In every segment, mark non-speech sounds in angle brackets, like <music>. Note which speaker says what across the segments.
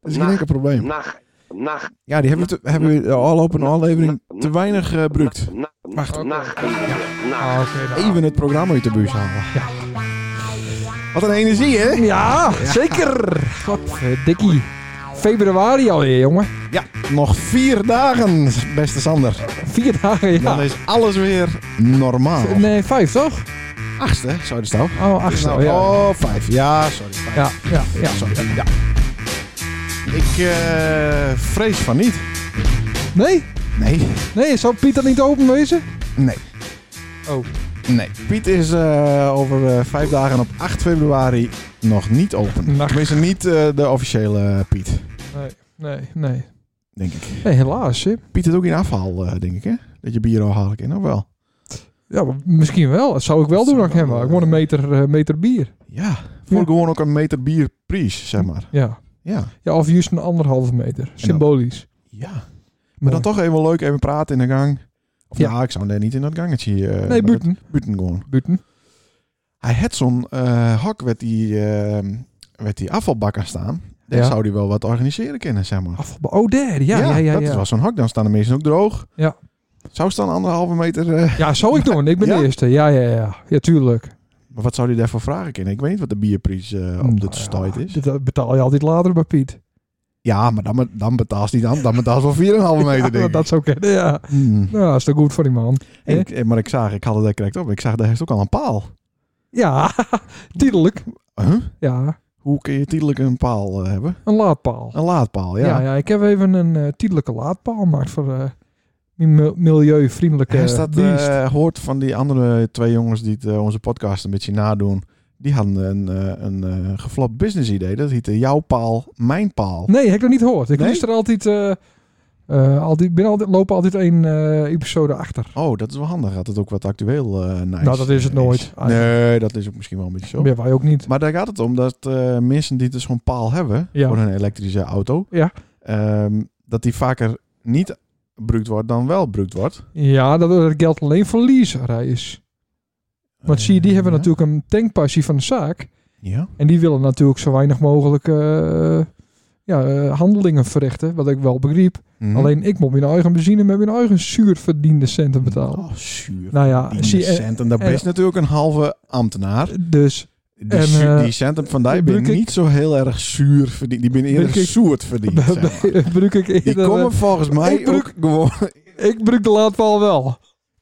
Speaker 1: Dat is geen enkel probleem.
Speaker 2: Nacht, nacht,
Speaker 1: Ja, die hebben we, te- hebben we de al open aflevering
Speaker 2: na-
Speaker 1: te weinig eh, gebruikt.
Speaker 2: nacht,
Speaker 1: Wacht.
Speaker 2: nacht,
Speaker 3: Ah,
Speaker 2: nacht.
Speaker 3: oké, nou.
Speaker 1: Even het programma uit de buis halen. Wat een energie, hè?
Speaker 3: Ja, zeker. Godverdikkie. Februari alweer, jongen.
Speaker 1: Ja, nog vier dagen, beste Sander.
Speaker 3: Vier dagen, ja.
Speaker 1: Dan is alles weer normaal.
Speaker 3: Nee, vijf toch?
Speaker 1: Achtste, zou de stouw.
Speaker 3: Oh, acht.
Speaker 1: Nou,
Speaker 3: zo, ja.
Speaker 1: Oh, vijf. Ja, sorry. Vijf.
Speaker 3: ja, ja, ja.
Speaker 1: Sorry, ja. Ik eh, vrees van niet.
Speaker 3: Nee?
Speaker 1: Nee.
Speaker 3: Nee, zou Pieter niet openwezen?
Speaker 1: Nee.
Speaker 3: Oh.
Speaker 1: Nee. Piet is eh, over eh, vijf dagen op 8 februari nog niet open.
Speaker 3: Nacht.
Speaker 1: Tenminste, niet eh, de officiële Piet,
Speaker 3: Nee, nee, nee.
Speaker 1: denk ik.
Speaker 3: Nee, helaas, hè.
Speaker 1: Piet heeft ook in afhaal, eh, denk ik, hè? Dat je bier al haal ik in, of wel?
Speaker 3: Ja, maar misschien wel. Dat zou ik wel
Speaker 1: Dat
Speaker 3: doen
Speaker 1: zou
Speaker 3: aan hem.
Speaker 1: wel,
Speaker 3: maar
Speaker 1: eh,
Speaker 3: Ik word een meter, eh, meter bier.
Speaker 1: Ja. Voor
Speaker 3: Ja.
Speaker 1: gewoon ook een meter bierprijs, zeg maar.
Speaker 3: Ja.
Speaker 1: Ja.
Speaker 3: ja, of juist een anderhalve meter. Symbolisch.
Speaker 1: Ja. Maar dan toch even leuk even praten in de gang. Of ja,
Speaker 3: Ja.
Speaker 1: ik zou daar niet in dat gangetje. eh, maar
Speaker 3: Nee,
Speaker 1: dat-
Speaker 3: buiten.
Speaker 1: Buiten gewoon.
Speaker 3: Buiten.
Speaker 1: Hij had zo'n eh, hok met die, eh, met die afvalbak aan staan. Daar
Speaker 3: Ja.
Speaker 1: zou hij wel wat organiseren kunnen, zeg maar.
Speaker 3: Afval- Oh, daar. Ja, ja, ja. ja,
Speaker 1: dat is wel zo'n hok. Dan staan de mensen ook droog.
Speaker 3: Ja.
Speaker 1: Zou ze dan anderhalve meter... eh,
Speaker 3: Ja, zou ik doen. Ik ben
Speaker 1: Ja?
Speaker 3: de eerste. Ja, ja, ja. Ja, tuurlijk.
Speaker 1: maar wat zou hij daarvoor vragen kunnen? Ik weet niet wat de bierprijs eh, op
Speaker 3: Nou
Speaker 1: dit
Speaker 3: ja,
Speaker 1: stuit is.
Speaker 3: dit- Dat betaal je altijd later bij Piet.
Speaker 1: Ja, maar dan, dan betaalt hij dan. Dan betaalt hij wel 4,5 meter,
Speaker 3: <laughs> Ja,
Speaker 1: denk ik.
Speaker 3: dat zou kunnen, ja. <laughs>
Speaker 1: Hmm.
Speaker 3: Nou, dat is toch goed voor die man.
Speaker 1: En ik- eh, maar ik zag, ik had het daar correct op. Ik zag, daar heeft ook al een paal.
Speaker 3: Ja, <laughs> tijdelijk.
Speaker 1: Huh?
Speaker 3: Ja,
Speaker 1: Hoe kun je tijdelijk een paal eh, hebben?
Speaker 3: een laadpaal.
Speaker 1: Een laadpaal, ja.
Speaker 3: Ja, ja, ik heb even een eh, tijdelijke laadpaal gemaakt voor eh, mijn mil- milieuvriendelijke
Speaker 1: Hij staat,
Speaker 3: dienst.
Speaker 1: eh, hoort van die andere twee jongens die het, eh, onze podcast een beetje nadoen. Die hadden een, eh, een eh, geflapt business idee. Dat heette jouw paal, mijn paal.
Speaker 3: Nee, heb ik nog niet gehoord. Ik
Speaker 1: Nee?
Speaker 3: luister altijd, eh eh, altijd, ben altijd, lopen altijd één eh, episode achter.
Speaker 1: Oh, dat is wel handig. Had het ook wat actueel eh nice
Speaker 3: Nou, dat is het nooit, Ah, eigenlijk.
Speaker 1: Nee, dat is ook misschien wel een beetje zo.
Speaker 3: Ja, wij ook niet.
Speaker 1: Maar daar gaat het om dat eh, mensen die dus gewoon paal hebben
Speaker 3: Ja.
Speaker 1: voor hun elektrische auto,
Speaker 3: Ja.
Speaker 1: ehm, dat die vaker niet gebruikt wordt dan wel gebruikt wordt.
Speaker 3: Ja, dat, dat geldt alleen voor lease-reis. Want zie je, die hebben
Speaker 1: Eh,
Speaker 3: natuurlijk een tankpassie van de zaak.
Speaker 1: Ja.
Speaker 3: En die willen natuurlijk zo weinig mogelijk eh, ja, eh, handelingen verrichten. Wat ik wel begreep.
Speaker 1: Mhm.
Speaker 3: Alleen ik moet mijn eigen benzine met mijn eigen zuurverdiende centen betalen.
Speaker 1: Oh, zuur.
Speaker 3: nou ja,
Speaker 1: Die
Speaker 3: zie, eh,
Speaker 1: centen, dat
Speaker 3: en-
Speaker 1: is natuurlijk een halve ambtenaar.
Speaker 3: dus
Speaker 1: Die,
Speaker 3: En,
Speaker 1: su-
Speaker 3: eh,
Speaker 1: die centen van die ben
Speaker 3: Bruk ik-
Speaker 1: niet zo heel erg zuur verdiend. Die ben eerder
Speaker 3: Bruk ik-
Speaker 1: zoerd
Speaker 3: <laughs>
Speaker 1: verdiend. zeg maar.
Speaker 3: gebruik ik
Speaker 1: Die
Speaker 3: eerder,
Speaker 1: komen volgens mij
Speaker 3: ik bruk-
Speaker 1: ook gewoon...
Speaker 3: eh, ik gebruik de laadpaal wel.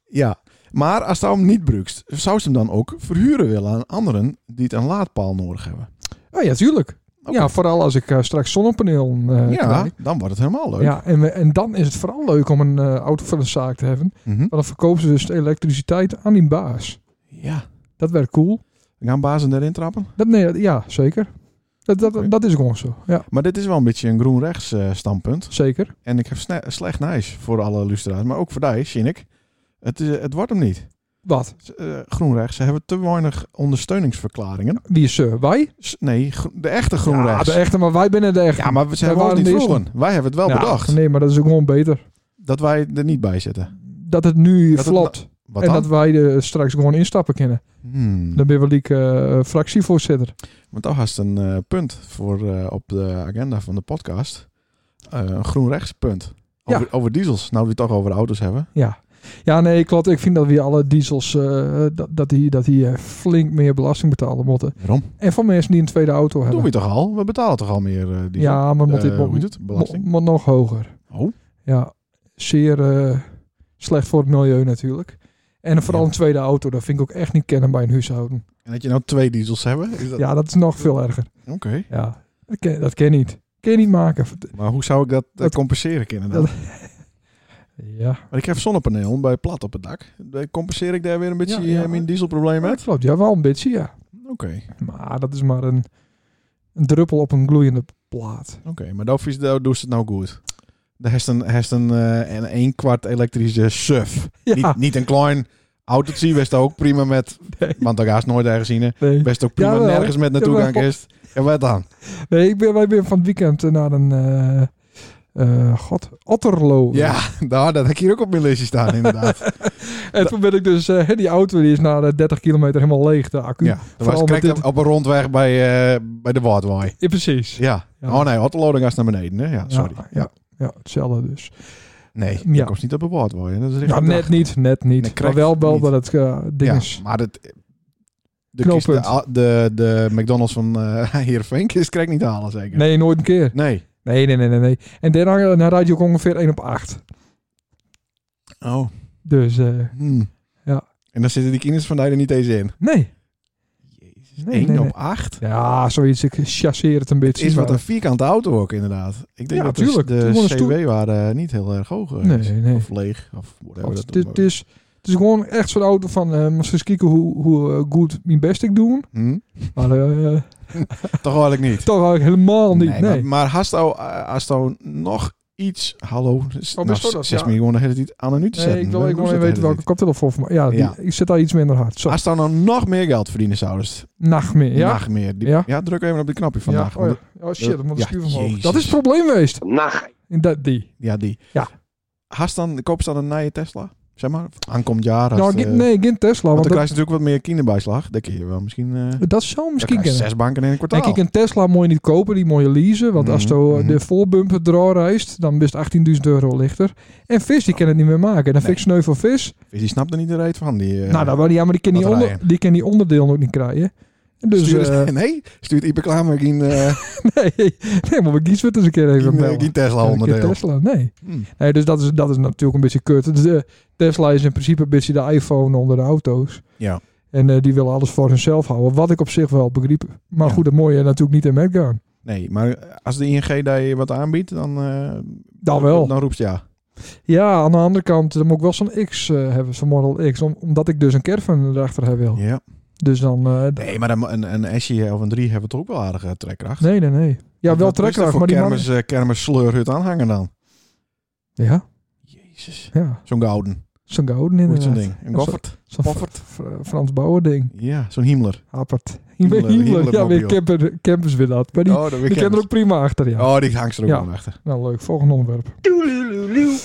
Speaker 1: Ja. Maar als je hem niet brukst, zou ze hem dan ook verhuren willen aan anderen die het een laadpaal nodig hebben?
Speaker 3: Oh ja, tuurlijk.
Speaker 1: Oké.
Speaker 3: Ja, vooral als ik eh, straks zonnepaneel eh,
Speaker 1: ja,
Speaker 3: krijg.
Speaker 1: dan wordt het helemaal leuk.
Speaker 3: Ja, en, we- en dan is het vooral leuk om een eh, auto voor de zaak te hebben.
Speaker 1: Mhm.
Speaker 3: Want dan verkopen ze dus de elektriciteit aan die baas.
Speaker 1: ja.
Speaker 3: Dat werkt cool.
Speaker 1: We gaan bazen erin trappen.
Speaker 3: Dat, nee, ja, zeker. Dat, dat,
Speaker 1: Oké.
Speaker 3: dat is gewoon zo. Ja,
Speaker 1: Maar dit is wel een beetje een groen-rechts eh, standpunt.
Speaker 3: zeker.
Speaker 1: En ik heb sne- slecht nieuws voor alle lustra's, maar ook voor die, zie ik. Het, is- het wordt hem niet.
Speaker 3: Wat?
Speaker 1: Eh, groen-rechts, ze hebben te weinig ondersteuningsverklaringen.
Speaker 3: Wie is eh, wij?
Speaker 1: S- Nee, gro- de echte
Speaker 3: Ja,
Speaker 1: GroenRechts.
Speaker 3: de
Speaker 1: Ja,
Speaker 3: echte, maar wij binnen de echte.
Speaker 1: maar we
Speaker 3: Wij
Speaker 1: zijn ons
Speaker 3: waren
Speaker 1: niet
Speaker 3: de eerste.
Speaker 1: vroegen. Wij hebben het wel
Speaker 3: Ja,
Speaker 1: bedacht.
Speaker 3: Nee, maar dat is ook gewoon beter.
Speaker 1: Dat wij er niet bij zitten.
Speaker 3: Dat het nu
Speaker 1: Dat het
Speaker 3: flopt.
Speaker 1: Wat
Speaker 3: en
Speaker 1: dan?
Speaker 3: dat wij er straks gewoon instappen kunnen.
Speaker 1: Hmm.
Speaker 3: Dan ben je wel ik eh, fractievoorzitter.
Speaker 1: Want dat was een eh, punt voor eh, op de agenda van de podcast. Eh, een groen-rechts punt.
Speaker 3: Ja.
Speaker 1: Over, over diesels. Nou, we het toch over auto's hebben.
Speaker 3: Ja. Ja, nee, klopt. Ik vind dat we alle diesels, eh, dat, dat die, dat die eh, flink meer belasting betalen moeten.
Speaker 1: Waarom?
Speaker 3: En voor mensen die een tweede auto
Speaker 1: Dat doen
Speaker 3: hebben.
Speaker 1: we toch al? We betalen toch al meer eh diesel?
Speaker 3: ja, maar moet dit
Speaker 1: Eh,
Speaker 3: mo-
Speaker 1: hoe heet het? Belasting?
Speaker 3: mo- moet nog hoger.
Speaker 1: Oh.
Speaker 3: Ja, zeer eh, slecht voor het milieu natuurlijk. En vooral
Speaker 1: Ja.
Speaker 3: een tweede auto, dat vind ik ook echt niet kennen bij een huishouden.
Speaker 1: En dat je nou twee diesels hebben? Is dat...
Speaker 3: Ja, dat is nog veel erger.
Speaker 1: Oké.
Speaker 3: Ja, dat ken, dat ken je niet. Ken je niet maken.
Speaker 1: Maar hoe zou ik dat, eh,
Speaker 3: Dat-
Speaker 1: compenseren kunnen dan?
Speaker 3: dat- Ja,
Speaker 1: Maar ik heb zonnepaneel bij plat op het dak. Dan Compenseer ik daar weer een beetje
Speaker 3: Ja, ja.
Speaker 1: eh, mijn dieselprobleem
Speaker 3: dat
Speaker 1: met?
Speaker 3: klopt. Ja, wel een beetje, ja.
Speaker 1: Oké.
Speaker 3: Maar dat is maar een, een druppel op een gloeiende plaat.
Speaker 1: Oké, maar dat is dat doet ze het nou goed. Daar heeft een, heeft een, eh, een een kwart elektrische suf.
Speaker 3: Ja,
Speaker 1: <laughs> Niet, niet een klein autootje, best ook prima met,
Speaker 3: Nee.
Speaker 1: want daar gaat nooit ergens zien.
Speaker 3: nee.
Speaker 1: Best ook prima
Speaker 3: Jawel.
Speaker 1: nergens met naartoe
Speaker 3: Jawel.
Speaker 1: gaan kist. En wat dan?
Speaker 3: nee ik ben, wij zijn van het weekend naar een, eh, eh, God, Otterlo.
Speaker 1: Ja, nou, dat heb ik hier ook op mijn lijstje staan,
Speaker 3: <laughs>
Speaker 1: inderdaad.
Speaker 3: En toen ben ik dus, eh, die auto die is na de 30 kilometer helemaal leeg, de accu.
Speaker 1: ja, dat was
Speaker 3: met
Speaker 1: correct
Speaker 3: dit-
Speaker 1: op een rondweg bij, eh, bij de Waardwaai.
Speaker 3: Ja, precies.
Speaker 1: Ja.
Speaker 3: Ja.
Speaker 1: Oh nee, Otterloding is naar beneden, hè? Ja, sorry.
Speaker 3: Ja,
Speaker 1: Ja,
Speaker 3: ja, ja, hetzelfde dus.
Speaker 1: Nee,
Speaker 3: Ja.
Speaker 1: dat komt niet op de Waardwaai. hè. Dat is richting
Speaker 3: Nou, net niet, net
Speaker 1: Nee,
Speaker 3: niet. maar
Speaker 1: correct
Speaker 3: wel wel
Speaker 1: niet.
Speaker 3: dat het eh, ding
Speaker 1: ja,
Speaker 3: is.
Speaker 1: maar dat... De,
Speaker 3: Knooppunt.
Speaker 1: kist- de, de, de McDonald's van eh <laughs> Heerenveen is krijg ik niet te halen, zeker?
Speaker 3: Nee, nooit een keer.
Speaker 1: Nee.
Speaker 3: Nee, nee, nee, nee. nee. En daarna dan rijd je ook ongeveer 1 op 8.
Speaker 1: Oh.
Speaker 3: Dus eh,
Speaker 1: hm.
Speaker 3: Ja.
Speaker 1: En dan zitten die kinders van daar er niet eens in.
Speaker 3: nee.
Speaker 1: Jezus,
Speaker 3: Nee,
Speaker 1: 1
Speaker 3: nee,
Speaker 1: op
Speaker 3: nee.
Speaker 1: 8?
Speaker 3: Ja, zoiets. Ik chasseer het een
Speaker 1: Het
Speaker 3: beetje.
Speaker 1: is wat
Speaker 3: maar-
Speaker 1: een vierkante auto ook, inderdaad. Ik denk
Speaker 3: Ja,
Speaker 1: dat dus
Speaker 3: tuurlijk.
Speaker 1: de,
Speaker 3: Gewoon een
Speaker 1: de
Speaker 3: stoel.
Speaker 1: CW waren niet heel erg hoog. eh,
Speaker 3: Nee,
Speaker 1: is.
Speaker 3: nee.
Speaker 1: Of leeg. Of whatever
Speaker 3: Want
Speaker 1: oh, dat
Speaker 3: dit,
Speaker 1: dan ook.
Speaker 3: is, het is gewoon echt zo'n auto van... eh moest eens kijken hoe, hoe eh, goed mijn best ik doe.
Speaker 1: Hm?
Speaker 3: Maar eh,
Speaker 1: Toch eigenlijk
Speaker 3: <laughs>
Speaker 1: niet.
Speaker 3: toch eigenlijk helemaal niet. Nee,
Speaker 1: Maar, maar hast al, eh, hast al nog iets... Hallo, s-
Speaker 3: Oh,
Speaker 1: nou,
Speaker 3: best wel
Speaker 1: zes
Speaker 3: dat,
Speaker 1: me
Speaker 3: ja.
Speaker 1: gewoon de hele tijd aan en nu te
Speaker 3: Nee,
Speaker 1: zetten.
Speaker 3: ik wil ik
Speaker 1: Waarom
Speaker 3: wil even
Speaker 1: zit
Speaker 3: weten
Speaker 1: dat
Speaker 3: welke koptelefoon voor mij. Ja, die-
Speaker 1: Ja.
Speaker 3: ik zit daar iets minder hard. Zo,
Speaker 1: Hast dan nou nog meer geld verdienen zouders?
Speaker 3: nacht meer. Ja?
Speaker 1: Nog meer. Die-
Speaker 3: Ja.
Speaker 1: ja? druk even op die knopje
Speaker 3: ja.
Speaker 1: vandaag.
Speaker 3: Oh,
Speaker 1: want-
Speaker 3: ja.
Speaker 1: ja.
Speaker 3: oh shit, dat moet de
Speaker 1: Ja,
Speaker 3: stuur omhoog.
Speaker 1: jezus.
Speaker 3: Dat is het probleem geweest.
Speaker 2: Nacht.
Speaker 3: In dat, die.
Speaker 1: die.
Speaker 3: Ja.
Speaker 1: Hast dan, koop ze dan een nieuwe Tesla? Zeg maar, aankomend jaar. Hast,
Speaker 3: Nou,
Speaker 1: eh,
Speaker 3: geen- nee, geen Tesla.
Speaker 1: want
Speaker 3: Want
Speaker 1: dan
Speaker 3: dat,
Speaker 1: krijg je natuurlijk wat meer kinderbijslag. Dat kun je wel misschien... eh
Speaker 3: dat zou misschien
Speaker 1: dan krijg je
Speaker 3: kunnen.
Speaker 1: zes banken in een kwartaal.
Speaker 3: Denk ik, eh, een Tesla moet je niet kopen, die moet je leasen. Want als
Speaker 1: Mhm,
Speaker 3: je eh,
Speaker 1: mhm.
Speaker 3: de volbumper draai reist, dan is het 18.000 euro lichter. En vis, die kan het niet meer maken. En dan
Speaker 1: Nee.
Speaker 3: vind ik sneu voor vis.
Speaker 1: Dus die snapt er niet de reet van. Die, eh,
Speaker 3: nou, dat wel, ja, maar die kan, die,
Speaker 1: Wat
Speaker 3: onder,
Speaker 1: rijden.
Speaker 3: die kan die onderdeel ook niet krijgen. En Dus,
Speaker 1: stuurt,
Speaker 3: eh,
Speaker 1: <laughs> nee, stuurt Ipe Klamer geen, eh,
Speaker 3: <laughs> nee, nee, maar we kiezen het eens een keer even
Speaker 1: geen, eh,
Speaker 3: bellen.
Speaker 1: geen Tesla
Speaker 3: Ja, een keer
Speaker 1: onderdeel.
Speaker 3: Tesla, nee.
Speaker 1: Hm.
Speaker 3: nee dus dat is, dat is natuurlijk een beetje kut. Dus, eh, Tesla is in principe een beetje de iPhone onder de auto's.
Speaker 1: Ja.
Speaker 3: En eh, die willen alles voor hunzelf houden. Wat ik op zich wel begreep. Maar
Speaker 1: Ja.
Speaker 3: goed, dat moet je natuurlijk niet in metgaan.
Speaker 1: Nee, maar eh, als de ING daar je wat aanbiedt, dan, eh,
Speaker 3: Dan wel.
Speaker 1: dan roept ze ja.
Speaker 3: Ja, aan de andere kant, dan moet ik wel zo'n X eh, hebben, zo'n Model X. om- omdat ik dus een caravan erachter heb wil.
Speaker 1: ja.
Speaker 3: Dus dan... eh, d-
Speaker 1: Nee, maar dan, een, een S'je of een 3 hebben toch ook wel aardige trekkracht.
Speaker 3: nee, nee, nee. Ja,
Speaker 1: Wat-
Speaker 3: wel
Speaker 1: wat is dat
Speaker 3: trekkracht,
Speaker 1: voor
Speaker 3: maar die man...
Speaker 1: kermis, eh, kermis sleurhut aanhangen dan.
Speaker 3: Ja,
Speaker 1: Jezus.
Speaker 3: ja.
Speaker 1: Zo'n gouden.
Speaker 3: Zo'n gouden
Speaker 1: Hoe heet
Speaker 3: inderdaad.
Speaker 1: zo'n ding? Een goffert.
Speaker 3: Zo'n
Speaker 1: Poffert.
Speaker 3: Fr- Fr- Frans Bauer ding.
Speaker 1: Ja, zo'n Himmler.
Speaker 3: <laughs> Happert.
Speaker 1: Himmler,
Speaker 3: Himmler. Ja, weer
Speaker 1: Himmlermobiel.
Speaker 3: camper, campers weer dat. Maar die,
Speaker 1: oh, dat
Speaker 3: die kent er ook prima achter, ja.
Speaker 1: Oh, die hangt ze er ook
Speaker 3: Ja.
Speaker 1: wel achter.
Speaker 3: Nou, leuk. Volgende onderwerp.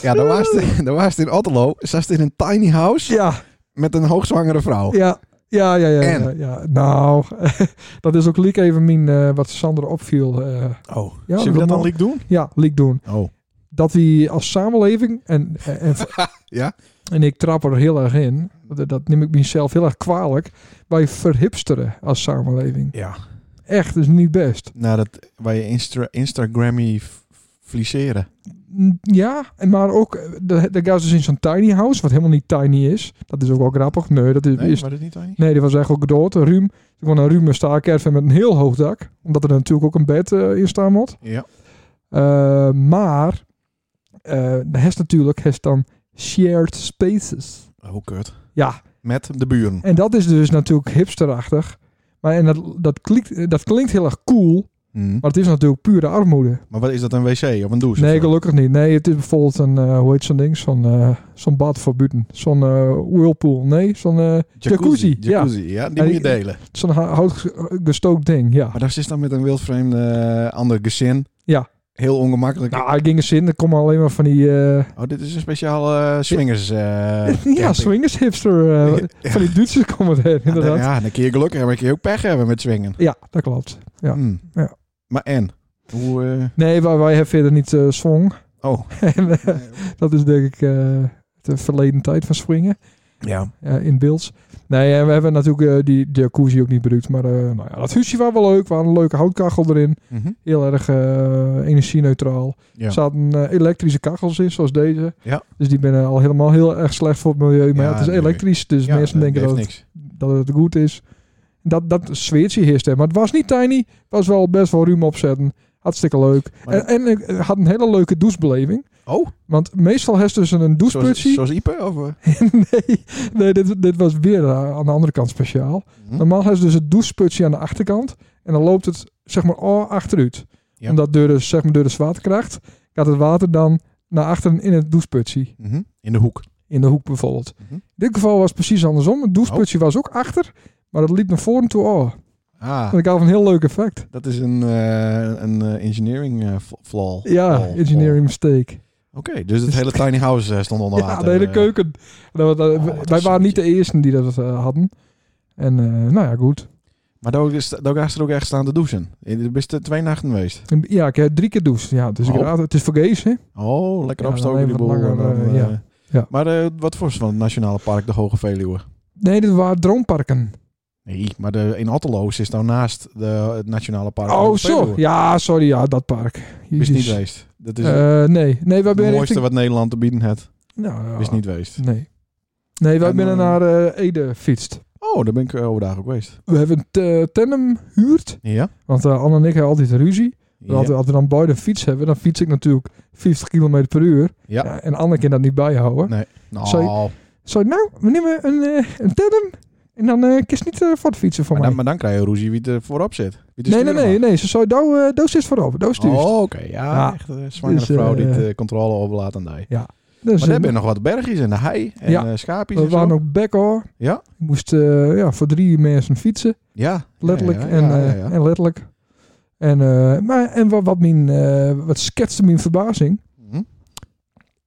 Speaker 1: Ja, daar was het- <laughs> daar was het in Otterlo. Ze was in een tiny house
Speaker 3: Ja,
Speaker 1: met een hoogzwangere vrouw.
Speaker 3: ja. Ja, ja, ja.
Speaker 1: En?
Speaker 3: ja, ja. Nou, <laughs> dat is ook leak even min eh, wat Sander opviel. eh,
Speaker 1: Oh,
Speaker 3: Ja,
Speaker 1: zullen we
Speaker 3: dat
Speaker 1: dat dan
Speaker 3: mag.
Speaker 1: leak doen?
Speaker 3: ja, leak doen.
Speaker 1: Oh,
Speaker 3: dat die als samenleving en, en, en-
Speaker 1: Ja?
Speaker 3: en ik trap er heel erg in, dat, dat neem ik mezelf heel erg kwalijk, wij verhipsteren als samenleving.
Speaker 1: ja.
Speaker 3: Echt, is niet best.
Speaker 1: Nou, dat waar je Insta Instagrammy f- fliseren.
Speaker 3: Mm, Ja, en maar ook, eh, de, de gast is in zo'n tiny house, wat helemaal niet tiny is. Dat is ook wel grappig. Nee, dat is,
Speaker 1: Nee,
Speaker 3: is,
Speaker 1: maar dat niet waar?
Speaker 3: nee die was eigenlijk ook dood. Ruim, gewoon een ruime staakerven met een heel hoog dak, omdat er natuurlijk ook een bed eh, in staan moet.
Speaker 1: Ja.
Speaker 3: Eh, maar, eh heeft natuurlijk, heeft dan shared spaces.
Speaker 1: Oh, kut.
Speaker 3: Ja,
Speaker 1: Met de buren.
Speaker 3: En dat is dus natuurlijk hipsterachtig. Maar en dat, dat, klinkt, dat klinkt heel erg cool,
Speaker 1: Hm.
Speaker 3: maar het is natuurlijk pure armoede.
Speaker 1: Maar wat is dat, een wc of een douche?
Speaker 3: Nee,
Speaker 1: of zo?
Speaker 3: gelukkig niet. Nee, het is bijvoorbeeld een, eh, hoe heet zo'n ding? Zo'n eh, zo'n bad voor buiten. Zo'n eh, whirlpool. Nee, zo'n eh, jacuzzi. Ja,
Speaker 1: Jacuzzi, ja. Die
Speaker 3: En
Speaker 1: moet je
Speaker 3: die-
Speaker 1: delen.
Speaker 3: zo'n hou- houtgestookt ding. Ja.
Speaker 1: Maar daar zit dan met een wildvreemde eh, ander gezin.
Speaker 3: Ja.
Speaker 1: Heel ongemakkelijk.
Speaker 3: Nou, ik ging eens in. Er komen alleen maar van die... eh,
Speaker 1: Oh, dit is een speciaal eh, swingers. eh, <laughs>
Speaker 3: <laughs> ja,
Speaker 1: camping.
Speaker 3: swingers
Speaker 1: <laughs>
Speaker 3: hipster. eh, Van die Duitsers komen het heen,
Speaker 1: Ja, dan-
Speaker 3: inderdaad. Ja,
Speaker 1: ja, dan kun je geluk hebben, dan kun je ook pech hebben met swingen.
Speaker 3: dat klopt. Ja.
Speaker 1: Hm.
Speaker 3: Ja.
Speaker 1: Maar en? Hoe, eh,
Speaker 3: Nee, wij, wij hebben verder niet eh swong.
Speaker 1: oh,
Speaker 3: <laughs> En, eh, dat is denk ik eh, de verleden tijd van swingen.
Speaker 1: ja.
Speaker 3: eh, in beeld. Nee, en we hebben natuurlijk eh, die jacuzzi ook niet bedoeld. Maar eh, nou ja, dat huisje was wel leuk. We hadden een leuke houtkachel erin.
Speaker 1: Mhm.
Speaker 3: Heel erg eh energie-neutraal.
Speaker 1: Ja.
Speaker 3: Er zaten eh, elektrische kachels in, zoals deze.
Speaker 1: Ja.
Speaker 3: Dus die zijn al helemaal heel erg slecht voor het milieu. Maar ja,
Speaker 1: Ja,
Speaker 3: het is
Speaker 1: nee.
Speaker 3: elektrisch, dus
Speaker 1: Ja,
Speaker 3: mensen
Speaker 1: dat
Speaker 3: denken
Speaker 1: heeft
Speaker 3: dat het,
Speaker 1: niks.
Speaker 3: dat het goed is. Dat, dat sfeertje heerste. Maar het was niet tiny. Het was wel best wel ruim opzetten. Hartstikke leuk.
Speaker 1: Maar-
Speaker 3: En, en ik had een hele leuke douchebeleving.
Speaker 1: Oh,
Speaker 3: Want meestal heeft dus een
Speaker 1: zoals,
Speaker 3: doucheputje.
Speaker 1: zoals Ipe? Of, eh?
Speaker 3: <laughs> nee, nee dit, dit was weer eh, aan de andere kant speciaal.
Speaker 1: Hm.
Speaker 3: Normaal hebben ze dus het doucheputje aan de achterkant. En dan loopt het zeg maar al achteruit.
Speaker 1: Ja.
Speaker 3: Omdat door de, zeg maar, door de zwaartekracht gaat het water dan naar achteren in het doucheputje.
Speaker 1: Mhm. In de hoek.
Speaker 3: In de hoek bijvoorbeeld.
Speaker 1: Mhm.
Speaker 3: In dit geval was het precies andersom. Het doucheputje was ook achter. Maar dat liep naar voren toe. Oh,
Speaker 1: Ah,
Speaker 3: En ik had een heel leuk effect.
Speaker 1: dat is een, eh, een eh, engineering eh, fl- flaw.
Speaker 3: Ja,
Speaker 1: Flaw.
Speaker 3: engineering mistake.
Speaker 1: Oké, dus het hele tiny house eh, stond onder water.
Speaker 3: Ja, de hele
Speaker 1: eh.
Speaker 3: keuken. Nou, Dat was-
Speaker 1: Oh, wat een
Speaker 3: wij waren niet de
Speaker 1: zootje.
Speaker 3: eersten die dat eh, hadden. En eh, nou ja, goed.
Speaker 1: Maar daar is- daar is er ook echt staan te douchen. Eh, Er is er twee nachten geweest.
Speaker 3: En Ja, ik heb drie keer douchen. Ja, dus ik
Speaker 1: Oh.
Speaker 3: raad het is vergees, hè?
Speaker 1: Oh, lekker
Speaker 3: Ja,
Speaker 1: opstoken
Speaker 3: dan
Speaker 1: die boel.
Speaker 3: even wat
Speaker 1: en
Speaker 3: langer,
Speaker 1: dan,
Speaker 3: eh, ja.
Speaker 1: eh,
Speaker 3: Ja.
Speaker 1: Maar eh, wat voor van het Nationale Park de Hoge Veluwe?
Speaker 3: Nee, dit waren droomparken.
Speaker 1: Nee, maar de, in Otterloos is nou naast de, het Nationale Park de
Speaker 3: oh,
Speaker 1: Hoge
Speaker 3: zo.
Speaker 1: Veluwe.
Speaker 3: Ja, sorry, ja, dat park.
Speaker 1: Is niet
Speaker 3: Jezus.
Speaker 1: geweest. Dat is
Speaker 3: Eh, nee, nee, wij
Speaker 1: het
Speaker 3: zijn
Speaker 1: mooiste
Speaker 3: richting...
Speaker 1: wat Nederland te bieden heeft.
Speaker 3: Nou, ja.
Speaker 1: Is niet geweest.
Speaker 3: Nee. Nee, wij
Speaker 1: En,
Speaker 3: zijn
Speaker 1: eh,
Speaker 3: naar eh, Ede fietst.
Speaker 1: Oh, daar ben ik eh, overdag ook geweest.
Speaker 3: We hebben een eh, tandem huurd.
Speaker 1: Ja?
Speaker 3: Want eh Anne en ik hebben altijd ruzie.
Speaker 1: Ja.
Speaker 3: Want Als, we, als we dan beide een fiets hebben, dan fiets ik natuurlijk 50 km per uur.
Speaker 1: Ja.
Speaker 3: en Anne kan dat niet bijhouden.
Speaker 1: Nou,
Speaker 3: Sorry. Zo, nou, we nemen een, eh een tandem. En dan eh kies niet eh voor de fietsen van
Speaker 1: maar
Speaker 3: mij.
Speaker 1: dan, maar dan krijg je ruzie wie er voorop zit. Wie de
Speaker 3: nee, nee,
Speaker 1: stuurman.
Speaker 3: nee, nee. Ze zei, nou, eh doos is voorop. Doos stuurt.
Speaker 1: Oh, oké. Ja,
Speaker 3: Ja.
Speaker 1: echt een zwangere
Speaker 3: Dus, eh,
Speaker 1: vrouw die de controle overlaat aan die.
Speaker 3: Dus,
Speaker 1: Maar
Speaker 3: eh,
Speaker 1: daar ben nog wat bergjes en de hei en
Speaker 3: Ja.
Speaker 1: eh, schaapjes
Speaker 3: we
Speaker 1: en zo.
Speaker 3: waren ook back hoor.
Speaker 1: Ja.
Speaker 3: Ik moest eh, ja, voor drie mensen fietsen.
Speaker 1: Ja.
Speaker 3: Letterlijk
Speaker 1: Ja, ja,
Speaker 3: en,
Speaker 1: ja, ja,
Speaker 3: eh,
Speaker 1: ja.
Speaker 3: en letterlijk. En, eh, maar, en wat, wat, mijn, eh, wat schetste mijn verbazing.
Speaker 1: Mhm.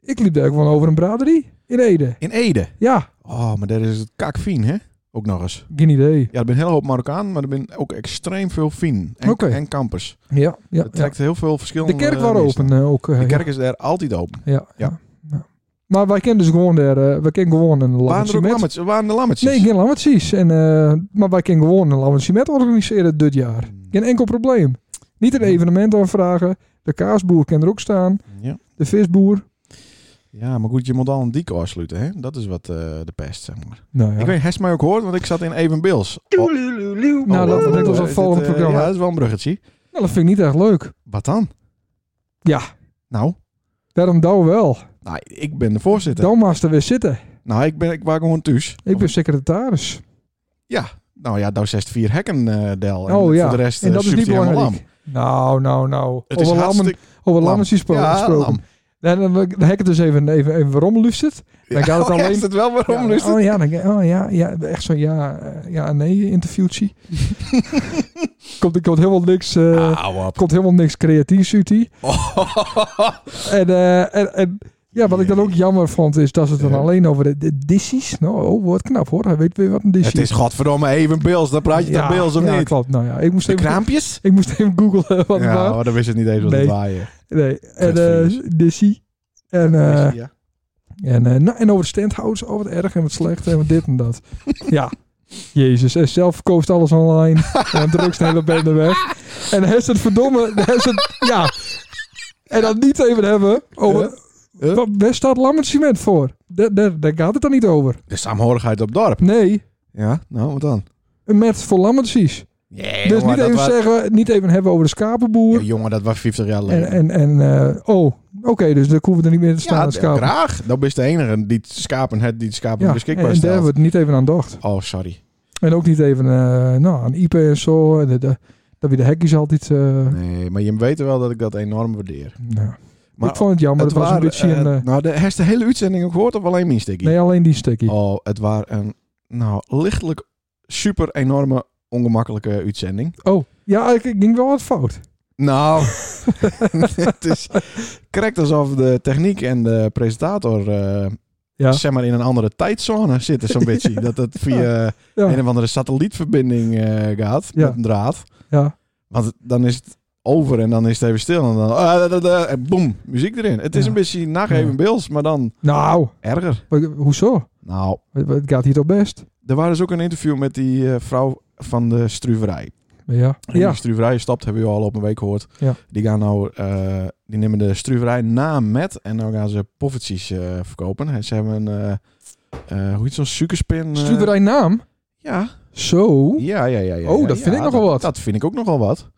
Speaker 3: Ik liep daar gewoon over een braderie in Ede.
Speaker 1: In Ede.
Speaker 3: Ja,
Speaker 1: Oh, maar daar is het kakfien, hè? Ook nog eens.
Speaker 3: geen idee.
Speaker 1: Ja, er ben een hele hoop Marokkaan, maar er ben ook extreem veel Fien en,
Speaker 3: Oké.
Speaker 1: en kampers.
Speaker 3: Ja, ja,
Speaker 1: Het trekt heel veel verschillende...
Speaker 3: De kerk
Speaker 1: eh,
Speaker 3: was
Speaker 1: mensen.
Speaker 3: open eh, ook. eh,
Speaker 1: De
Speaker 3: ja.
Speaker 1: kerk is daar altijd open.
Speaker 3: Ja,
Speaker 1: Ja.
Speaker 3: ja. ja. Maar wij kennen dus gewoon daar, eh, wij kennen gewoon een
Speaker 1: Waren er
Speaker 3: lammetsie
Speaker 1: ook
Speaker 3: met.
Speaker 1: lammetjes? Waren er lammetjes?
Speaker 3: Nee, geen lammetjes. En, eh, maar wij kennen gewoon een lammetsie met organiseren dit jaar. Geen enkel probleem. Niet een evenement aanvragen. De kaasboer kan er ook staan.
Speaker 1: Ja.
Speaker 3: De visboer.
Speaker 1: ja, maar goed, je moet al een dik afsluiten, hè? Dat is wat eh, de pest, zeg maar.
Speaker 3: Nou ja.
Speaker 1: Ik weet, heeft mij ook gehoord, want ik zat in Evenbeels. Oh,
Speaker 3: nou,
Speaker 1: oh,
Speaker 3: laten we dit als
Speaker 1: eh,
Speaker 3: een
Speaker 1: is
Speaker 3: volgend
Speaker 1: dit, eh,
Speaker 3: programma.
Speaker 1: Ja, dat is wel een bruggetje.
Speaker 3: Nou, dat vind ik niet echt leuk.
Speaker 1: Wat dan?
Speaker 3: Ja.
Speaker 1: Nou,
Speaker 3: Daarom douw wel.
Speaker 1: nou ik ben de voorzitter.
Speaker 3: Dan maar ze weer zitten.
Speaker 1: Nou, ik, ben, ik was gewoon thuis.
Speaker 3: Ik ben secretaris.
Speaker 1: Nou ja, daar zit vier hekken, eh, Del. En
Speaker 3: oh ja.
Speaker 1: Voor de rest
Speaker 3: en dat
Speaker 1: eh,
Speaker 3: is niet
Speaker 1: supt hij helemaal
Speaker 3: belangrijk. Nou, nou, nou.
Speaker 1: Het is
Speaker 3: Over lammen,
Speaker 1: hartstikke...
Speaker 3: over
Speaker 1: lam.
Speaker 3: lammetjes
Speaker 1: Ja,
Speaker 3: gesproken.
Speaker 1: lam.
Speaker 3: Dan, dan, dan hek het dus even, even, even waarom lust het? Dan gaat
Speaker 1: <laughs>
Speaker 3: het
Speaker 1: oh, ja,
Speaker 3: alleen-
Speaker 1: is het wel waarom
Speaker 3: ja,
Speaker 1: lust het?
Speaker 3: Oh ja, dan, oh, ja, ja echt zo'n ja, eh, ja nee interviewtje.
Speaker 1: <laughs>
Speaker 3: komt, er komt helemaal niks, eh,
Speaker 1: Auw, op.
Speaker 3: komt helemaal niks creatiefs uit die.
Speaker 1: Oh.
Speaker 3: En, eh, en, en ja, wat ik dan ook jammer vond is dat ze het dan
Speaker 1: Ja.
Speaker 3: alleen over de, de dissies. Nou, oh, wordt knap hoor. Hij weet weer wat een
Speaker 1: <laughs>
Speaker 3: dissie
Speaker 1: Het is godverdomme even Bills. Dan praat je
Speaker 3: ja,
Speaker 1: toch Bills of
Speaker 3: ja,
Speaker 1: niet?
Speaker 3: klopt. Nou ja, ik moest
Speaker 1: De
Speaker 3: even,
Speaker 1: kraampjes?
Speaker 3: ik moest even googlen <laughs> wat het
Speaker 1: ja,
Speaker 3: was.
Speaker 1: maar dan wist het niet eens wat
Speaker 3: Nee.
Speaker 1: het waaien.
Speaker 3: Nee, en eh
Speaker 1: Kutvingers.
Speaker 3: dissie. En, eh,
Speaker 1: ja.
Speaker 3: En, eh, nou, en over de standhouders, oh wat erg en wat slecht en wat dit en
Speaker 1: <laughs>
Speaker 3: dat. ja, jezus. En zelf koopt alles online en drukt de hele bende weg. En hij is het verdomme, hij is het, ja. En dan niet even hebben over,
Speaker 1: Huh? Huh?
Speaker 3: wat, waar staat Lammert Cement voor? Daar, daar, daar gaat het dan niet over.
Speaker 1: De saamhorigheid op dorp.
Speaker 3: Nee,
Speaker 1: Ja, nou, wat dan?
Speaker 3: een met voor Lammertjes.
Speaker 1: Nee,
Speaker 3: Dus
Speaker 1: jongen,
Speaker 3: niet even,
Speaker 1: dat was,
Speaker 3: zeggen, niet even hebben over de
Speaker 1: ja,
Speaker 3: schapenboer.
Speaker 1: jongen, dat was 50 jaar
Speaker 3: en,
Speaker 1: geleden.
Speaker 3: en, en eh, oh, oké, dus daar hoeven we er niet meer te staan,
Speaker 1: ja,
Speaker 3: het
Speaker 1: d-
Speaker 3: schapen.
Speaker 1: graag. Dan ben je de enige die het schapen het, die het schapen
Speaker 3: Ja, en, en
Speaker 1: beschikbaar
Speaker 3: daar
Speaker 1: stelt.
Speaker 3: hebben we het niet even aan dacht.
Speaker 1: Oh, sorry.
Speaker 3: En ook niet even eh, nou, aan IP en zo. En de, de, dat we de hekjes altijd. eh,
Speaker 1: Nee, maar je weet wel dat ik dat enorm waardeer.
Speaker 3: nou.
Speaker 1: Maar
Speaker 3: ik vond het jammer. Het, was
Speaker 1: waar,
Speaker 3: een beetje
Speaker 1: eh,
Speaker 3: een. eh,
Speaker 1: nou, de, heeft de hele uitzending ook gehoord of alleen mijn stukje?
Speaker 3: nee, alleen die stukje.
Speaker 1: Oh, het was een nou, lichtelijk super enorme ongemakkelijke uitzending.
Speaker 3: Oh, ja, ik, ik ging wel wat fout.
Speaker 1: Nou, <laughs> het is correct alsof de techniek en de presentator eh,
Speaker 3: Ja.
Speaker 1: zeg maar in een andere tijdzone zitten
Speaker 3: <laughs>
Speaker 1: zo'n beetje. Dat het via
Speaker 3: Ja.
Speaker 1: een of andere satellietverbinding eh, gaat
Speaker 3: Ja.
Speaker 1: met een draad.
Speaker 3: Ja.
Speaker 1: Want het- dan is het over en dan is het even stil en dan ah, da, da, da, en boem, muziek erin. Het is
Speaker 3: Ja.
Speaker 1: een beetje nacht even Bills, maar dan
Speaker 3: Nou,
Speaker 1: erger.
Speaker 3: wat- hoezo?
Speaker 1: Nou,
Speaker 3: Het- Het gaat hier toch best?
Speaker 1: er was dus ook een interview met die eh, vrouw van de struverij.
Speaker 3: Ja.
Speaker 1: En
Speaker 3: Ja.
Speaker 1: Die struverij stapt, hebben we al op een week gehoord.
Speaker 3: Ja.
Speaker 1: Die gaan nou, eh, die nemen de struverij na met en dan gaan ze poffertjes eh, verkopen. En ze hebben een, eh, eh, hoe heet zo'n suikerspin? eh,
Speaker 3: Stuurderij naam.
Speaker 1: ja.
Speaker 3: Zo.
Speaker 1: ja, ja, ja, ja.
Speaker 3: Oh,
Speaker 1: ja,
Speaker 3: dat
Speaker 1: ja,
Speaker 3: vind ik nogal
Speaker 1: dat-
Speaker 3: wat.
Speaker 1: Dat vind ik ook nogal wat.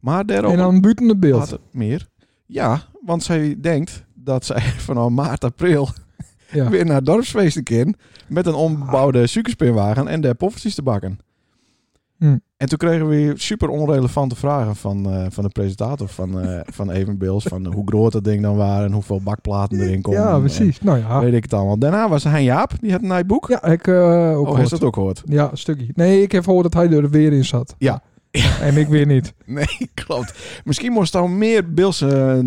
Speaker 1: Maar daarop
Speaker 3: En dan buiten het beeld.
Speaker 1: had het meer. Ja, want zij denkt dat zij <laughs> vanaf maart, april
Speaker 3: Ja.
Speaker 1: weer naar dorpsfeesten kan met een ombouwde suikerspinwagen en daar poffertjes te bakken.
Speaker 3: Hm.
Speaker 1: En toen kregen we super onrelevante vragen van, eh, van de presentator van,
Speaker 3: <laughs>
Speaker 1: eh, van Evenbeels. Van eh, hoe groot dat ding dan waren en hoeveel bakplaten erin komen.
Speaker 3: ja, precies. Nou
Speaker 1: En
Speaker 3: ja.
Speaker 1: eh, weet ik het allemaal. Daarna was Hein Jaap, die had een nieuw boek.
Speaker 3: Ja, ik eh ook
Speaker 1: oh, hij
Speaker 3: gehoord.
Speaker 1: is dat ook
Speaker 3: <laughs>
Speaker 1: gehoord?
Speaker 3: Ja, een stukje. Nee, ik heb gehoord dat hij er weer in zat.
Speaker 1: Ja.
Speaker 3: En ik weer
Speaker 1: <laughs>
Speaker 3: niet.
Speaker 1: Nee, klopt. Misschien moest dan meer Beelse eh,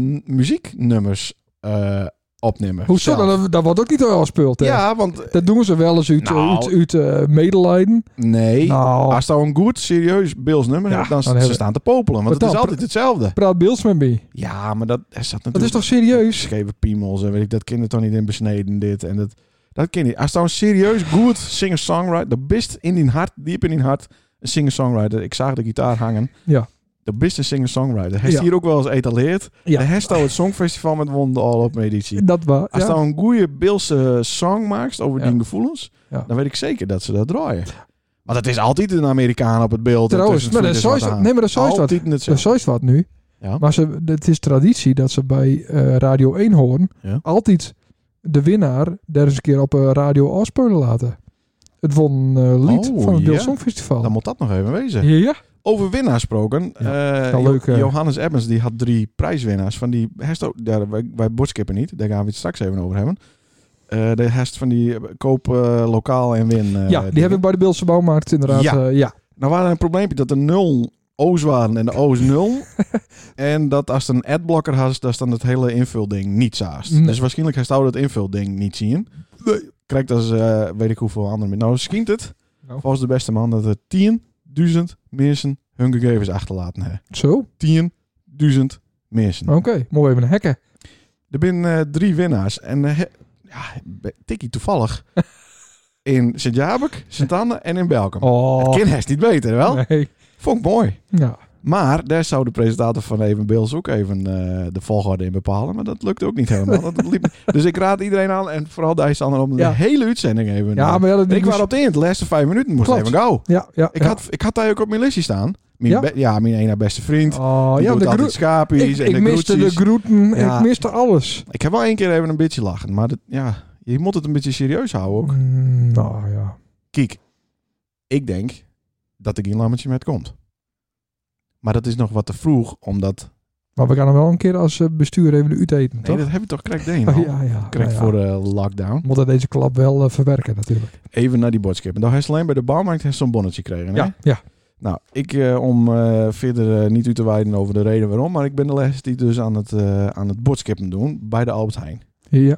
Speaker 1: muzieknummers eh, opnemen.
Speaker 3: Hoezo?
Speaker 1: Zelf.
Speaker 3: Dat, dat wordt ook niet afgespeeld, hè?
Speaker 1: Ja, want
Speaker 3: Dat doen ze wel eens uit,
Speaker 1: Nou.
Speaker 3: uit, uit eh, medelijden.
Speaker 1: nee,
Speaker 3: Nou,
Speaker 1: als nou een goed, serieus Beels nummer
Speaker 3: Ja,
Speaker 1: hebt, dan,
Speaker 3: dan
Speaker 1: ze
Speaker 3: hebben-
Speaker 1: staan te popelen. Want
Speaker 3: Wat
Speaker 1: het is
Speaker 3: dan?
Speaker 1: altijd hetzelfde.
Speaker 3: praat Beels met me.
Speaker 1: Ja, maar dat er zat
Speaker 3: Dat is
Speaker 1: natuurlijk
Speaker 3: toch serieus?
Speaker 1: scheve piemels en weet ik, dat kinderen toch niet in besneden dit en dat. Dat ken je. Als nou een serieus goed singer-songwriter, de best in die hart, diep in die hart, een singer-songwriter. Ik zag de gitaar hangen.
Speaker 3: Ja.
Speaker 1: De beste singer-songwriter. Hij is
Speaker 3: Ja.
Speaker 1: hier ook wel eens etaleerd.
Speaker 3: Ja.
Speaker 1: De Hesto het Songfestival met wonden al op editie.
Speaker 3: Dat waar.
Speaker 1: Als
Speaker 3: ja.
Speaker 1: nou een goede Beelse song maakt over
Speaker 3: Ja.
Speaker 1: die gevoelens,
Speaker 3: Ja.
Speaker 1: dan weet ik zeker dat ze dat draaien. Want het is altijd een Amerikaan op het beeld. en
Speaker 3: Trouwens,
Speaker 1: tussen
Speaker 3: maar
Speaker 1: het
Speaker 3: dat is
Speaker 1: vliegers
Speaker 3: zoiets-
Speaker 1: wat aan.
Speaker 3: nee, maar dat is zoiets wat.
Speaker 1: Altijd net
Speaker 3: Dat
Speaker 1: zo.
Speaker 3: is zoiets wat nu.
Speaker 1: Ja.
Speaker 3: Maar ze, het is traditie dat ze bij eh, Radio 1 horen
Speaker 1: Ja.
Speaker 3: altijd de winnaar daar eens een keer op eh, radio afspelen laten. Het won een lied
Speaker 1: Oh,
Speaker 3: van het Beeld
Speaker 1: ja.
Speaker 3: Songfestival.
Speaker 1: Dan moet eh, dat nog even wezen.
Speaker 3: Ja,
Speaker 1: Over winnaars gesproken. eh,
Speaker 3: wel leuk, eh.
Speaker 1: Johannes Ebbens die had drie prijswinnaars van die herst. ook- Ja, wij, wij bordskippen niet. Daar gaan we het straks even over hebben. Eh, de herst van die eh, koop eh, lokaal en win. eh,
Speaker 3: ja die
Speaker 1: dingen.
Speaker 3: hebben we bij de Beeldse Bouwmarkt inderdaad.
Speaker 1: Ja.
Speaker 3: Ja, ja.
Speaker 1: Nou waren er een probleempje dat er nul O's waren en de O's
Speaker 3: <laughs>
Speaker 1: nul. en dat als het een adblocker had, dat is dan het hele invulding niet zaast.
Speaker 3: Nee.
Speaker 1: Dus waarschijnlijk hij zou dat invulding niet zien. Krijgt als eh, weet ik hoeveel anderen. Nou, schijnt het,
Speaker 3: Nou.
Speaker 1: volgens de beste man, dat er 10.000 mensen hun gegevens achterlaten hebben.
Speaker 3: Zo, oké.
Speaker 1: 10.000 mensen.
Speaker 3: Oh. Mooi even een hekken.
Speaker 1: Er zijn eh, drie winnaars. En eh, he- ja, be- tikkie
Speaker 3: <laughs>
Speaker 1: toevallig. in Sint-Jabek, Sint-Anne en in Belkum.
Speaker 3: Oh,
Speaker 1: Het kind is niet beter, wel?
Speaker 3: nee.
Speaker 1: Vond ik mooi.
Speaker 3: Ja,
Speaker 1: Maar daar zou de presentator van Even Beels ook even eh, de volgorde in bepalen. Maar dat lukte ook niet helemaal. Dat liep
Speaker 3: <laughs>
Speaker 1: niet. Dus ik raad iedereen aan, en vooral Dijsander, om de
Speaker 3: Ja.
Speaker 1: hele uitzending even...
Speaker 3: ja
Speaker 1: eh,
Speaker 3: maar ja, dat
Speaker 1: ik
Speaker 3: moest-
Speaker 1: was op de eind, de laatste vijf minuten moest
Speaker 3: Klopt.
Speaker 1: even go.
Speaker 3: Ja, ja.
Speaker 1: Ik,
Speaker 3: ja.
Speaker 1: had, ik had daar ook op mijn lijstje staan. Mijn
Speaker 3: Ja?
Speaker 1: be- ja, mijn ene beste vriend.
Speaker 3: Oh,
Speaker 1: Die
Speaker 3: ja,
Speaker 1: doet
Speaker 3: de
Speaker 1: altijd
Speaker 3: groet. Ik,
Speaker 1: schapies en
Speaker 3: ik
Speaker 1: de
Speaker 3: miste de
Speaker 1: groetjes.
Speaker 3: groeten,
Speaker 1: Ja.
Speaker 3: ik miste alles.
Speaker 1: Ik heb wel één keer even een beetje lachen, maar dat, ja, je moet het een beetje serieus houden ook.
Speaker 3: Mm, nou ja.
Speaker 1: Kijk, ik denk dat er geen lammetje met komt. Maar dat is nog wat te vroeg, omdat...
Speaker 3: Maar we gaan hem wel een keer als eh, bestuur even de UT eten,
Speaker 1: Nee,
Speaker 3: toch?
Speaker 1: dat heb je toch correct
Speaker 3: <laughs>
Speaker 1: deen
Speaker 3: Oh,
Speaker 1: al?
Speaker 3: ja, ja.
Speaker 1: Correct
Speaker 3: ja, ja.
Speaker 1: voor eh, de lockdown.
Speaker 3: Moeten deze klap wel eh, verwerken natuurlijk.
Speaker 1: Even naar die bordskip. En daar heeft alleen bij de bouwmarkt heeft zo'n bonnetje gekregen. hè?
Speaker 3: Ja, ja.
Speaker 1: Nou, ik, eh, om eh, verder eh, niet u te wijden over de reden waarom, maar ik ben de les die dus aan het, eh aan het bordskippen doen bij de Albert Heijn.
Speaker 3: ja.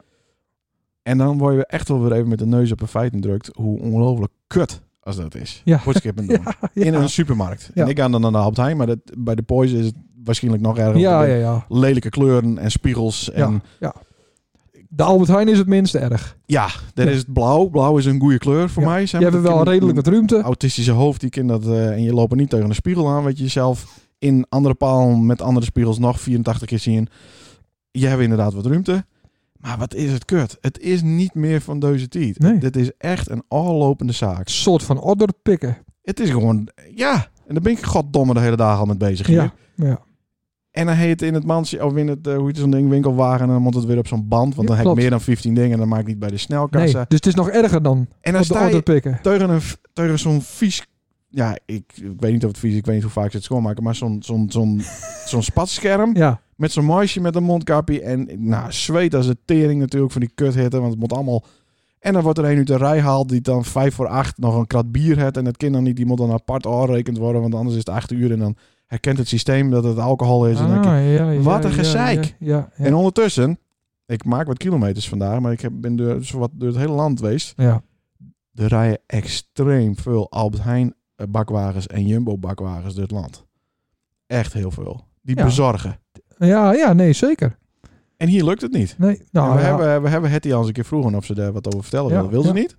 Speaker 1: En dan word je echt wel weer even met de neus op een feiten drukt hoe ongelooflijk kut als dat is.
Speaker 3: Ja. <laughs>
Speaker 1: Bordskippen doen.
Speaker 3: Ja,
Speaker 1: In een supermarkt.
Speaker 3: Ja.
Speaker 1: En ik ga dan naar de Albert Heijn, maar dat, bij de Poise is het waarschijnlijk nog erger.
Speaker 3: ja,
Speaker 1: want
Speaker 3: ja,
Speaker 1: er
Speaker 3: ja.
Speaker 1: zijn Lelijke kleuren en spiegels. En
Speaker 3: ja, ja. De Albert Heijn is het minst erg.
Speaker 1: ja, daar
Speaker 3: Ja.
Speaker 1: is het blauw. Blauw is een goede kleur voor
Speaker 3: Ja.
Speaker 1: mij. Zeg
Speaker 3: Je
Speaker 1: maar.
Speaker 3: hebt
Speaker 1: Dat
Speaker 3: wel
Speaker 1: kind-
Speaker 3: redelijk wat ruimte.
Speaker 1: autistische hoofd die kind dat eh, en je loopt er niet tegen een spiegel aan, weet je jezelf in andere paal met andere spiegels nog 84 keer zien. Je hebt inderdaad wat ruimte. Maar wat is het kut? Het is niet meer van deze tijd.
Speaker 3: Nee.
Speaker 1: Dit is echt een allopende zaak.
Speaker 3: Een soort van order pikken.
Speaker 1: Het is gewoon, ja. En daar ben ik goddomme de hele dag al mee bezig hier.
Speaker 3: Ja, ja.
Speaker 1: En dan heet het in het mansje, of in het, eh, hoe heet zo'n ding, winkelwagen. En dan moet het weer op zo'n band. Want dan
Speaker 3: Ja,
Speaker 1: heb ik
Speaker 3: klopt.
Speaker 1: meer dan 15 dingen. En dan maak ik niet bij de
Speaker 3: Nee,
Speaker 1: snelkassa.
Speaker 3: dus het is nog erger dan
Speaker 1: En dan
Speaker 3: op de
Speaker 1: sta je
Speaker 3: order pikken.
Speaker 1: tegen, een, tegen zo'n vies... Ja, ik, ik weet niet of het vies is, ik weet niet hoe vaak ze het schoonmaken. Maar zo'n zo'n
Speaker 3: <laughs>
Speaker 1: zo'n zo'n spatscherm
Speaker 3: Ja,
Speaker 1: met zo'n meisje met een mondkapje. En nou, zweet als de tering natuurlijk van die kuthitten. Want het moet allemaal... En dan wordt er een uit de rij haalt die dan vijf voor acht nog een krat bier heeft. En het kind dan niet, die moet dan apart aanrekend worden. Want anders is het acht uur en dan herkent het systeem dat het alcohol is. en, dan-
Speaker 3: Ah, ja, ja,
Speaker 1: Wat een
Speaker 3: ja,
Speaker 1: gezeik.
Speaker 3: Ja, ja, ja.
Speaker 1: en ondertussen, ik maak wat kilometers vandaag. Maar ik heb, ben door, zowat door het hele land geweest
Speaker 3: Ja.
Speaker 1: er rijden extreem veel Albert Heijn eh, bakwagens en Jumbo bakwagens door het land. Echt heel veel. Die
Speaker 3: Ja.
Speaker 1: bezorgen.
Speaker 3: Ja, ja, nee, zeker.
Speaker 1: En hier lukt het niet.
Speaker 3: Nee, nou,
Speaker 1: En we,
Speaker 3: ja.
Speaker 1: hebben, we hebben Hetty al eens een keer vroegen of ze daar wat over vertellen
Speaker 3: Ja,
Speaker 1: wilde. Wil ze
Speaker 3: ja.
Speaker 1: niet?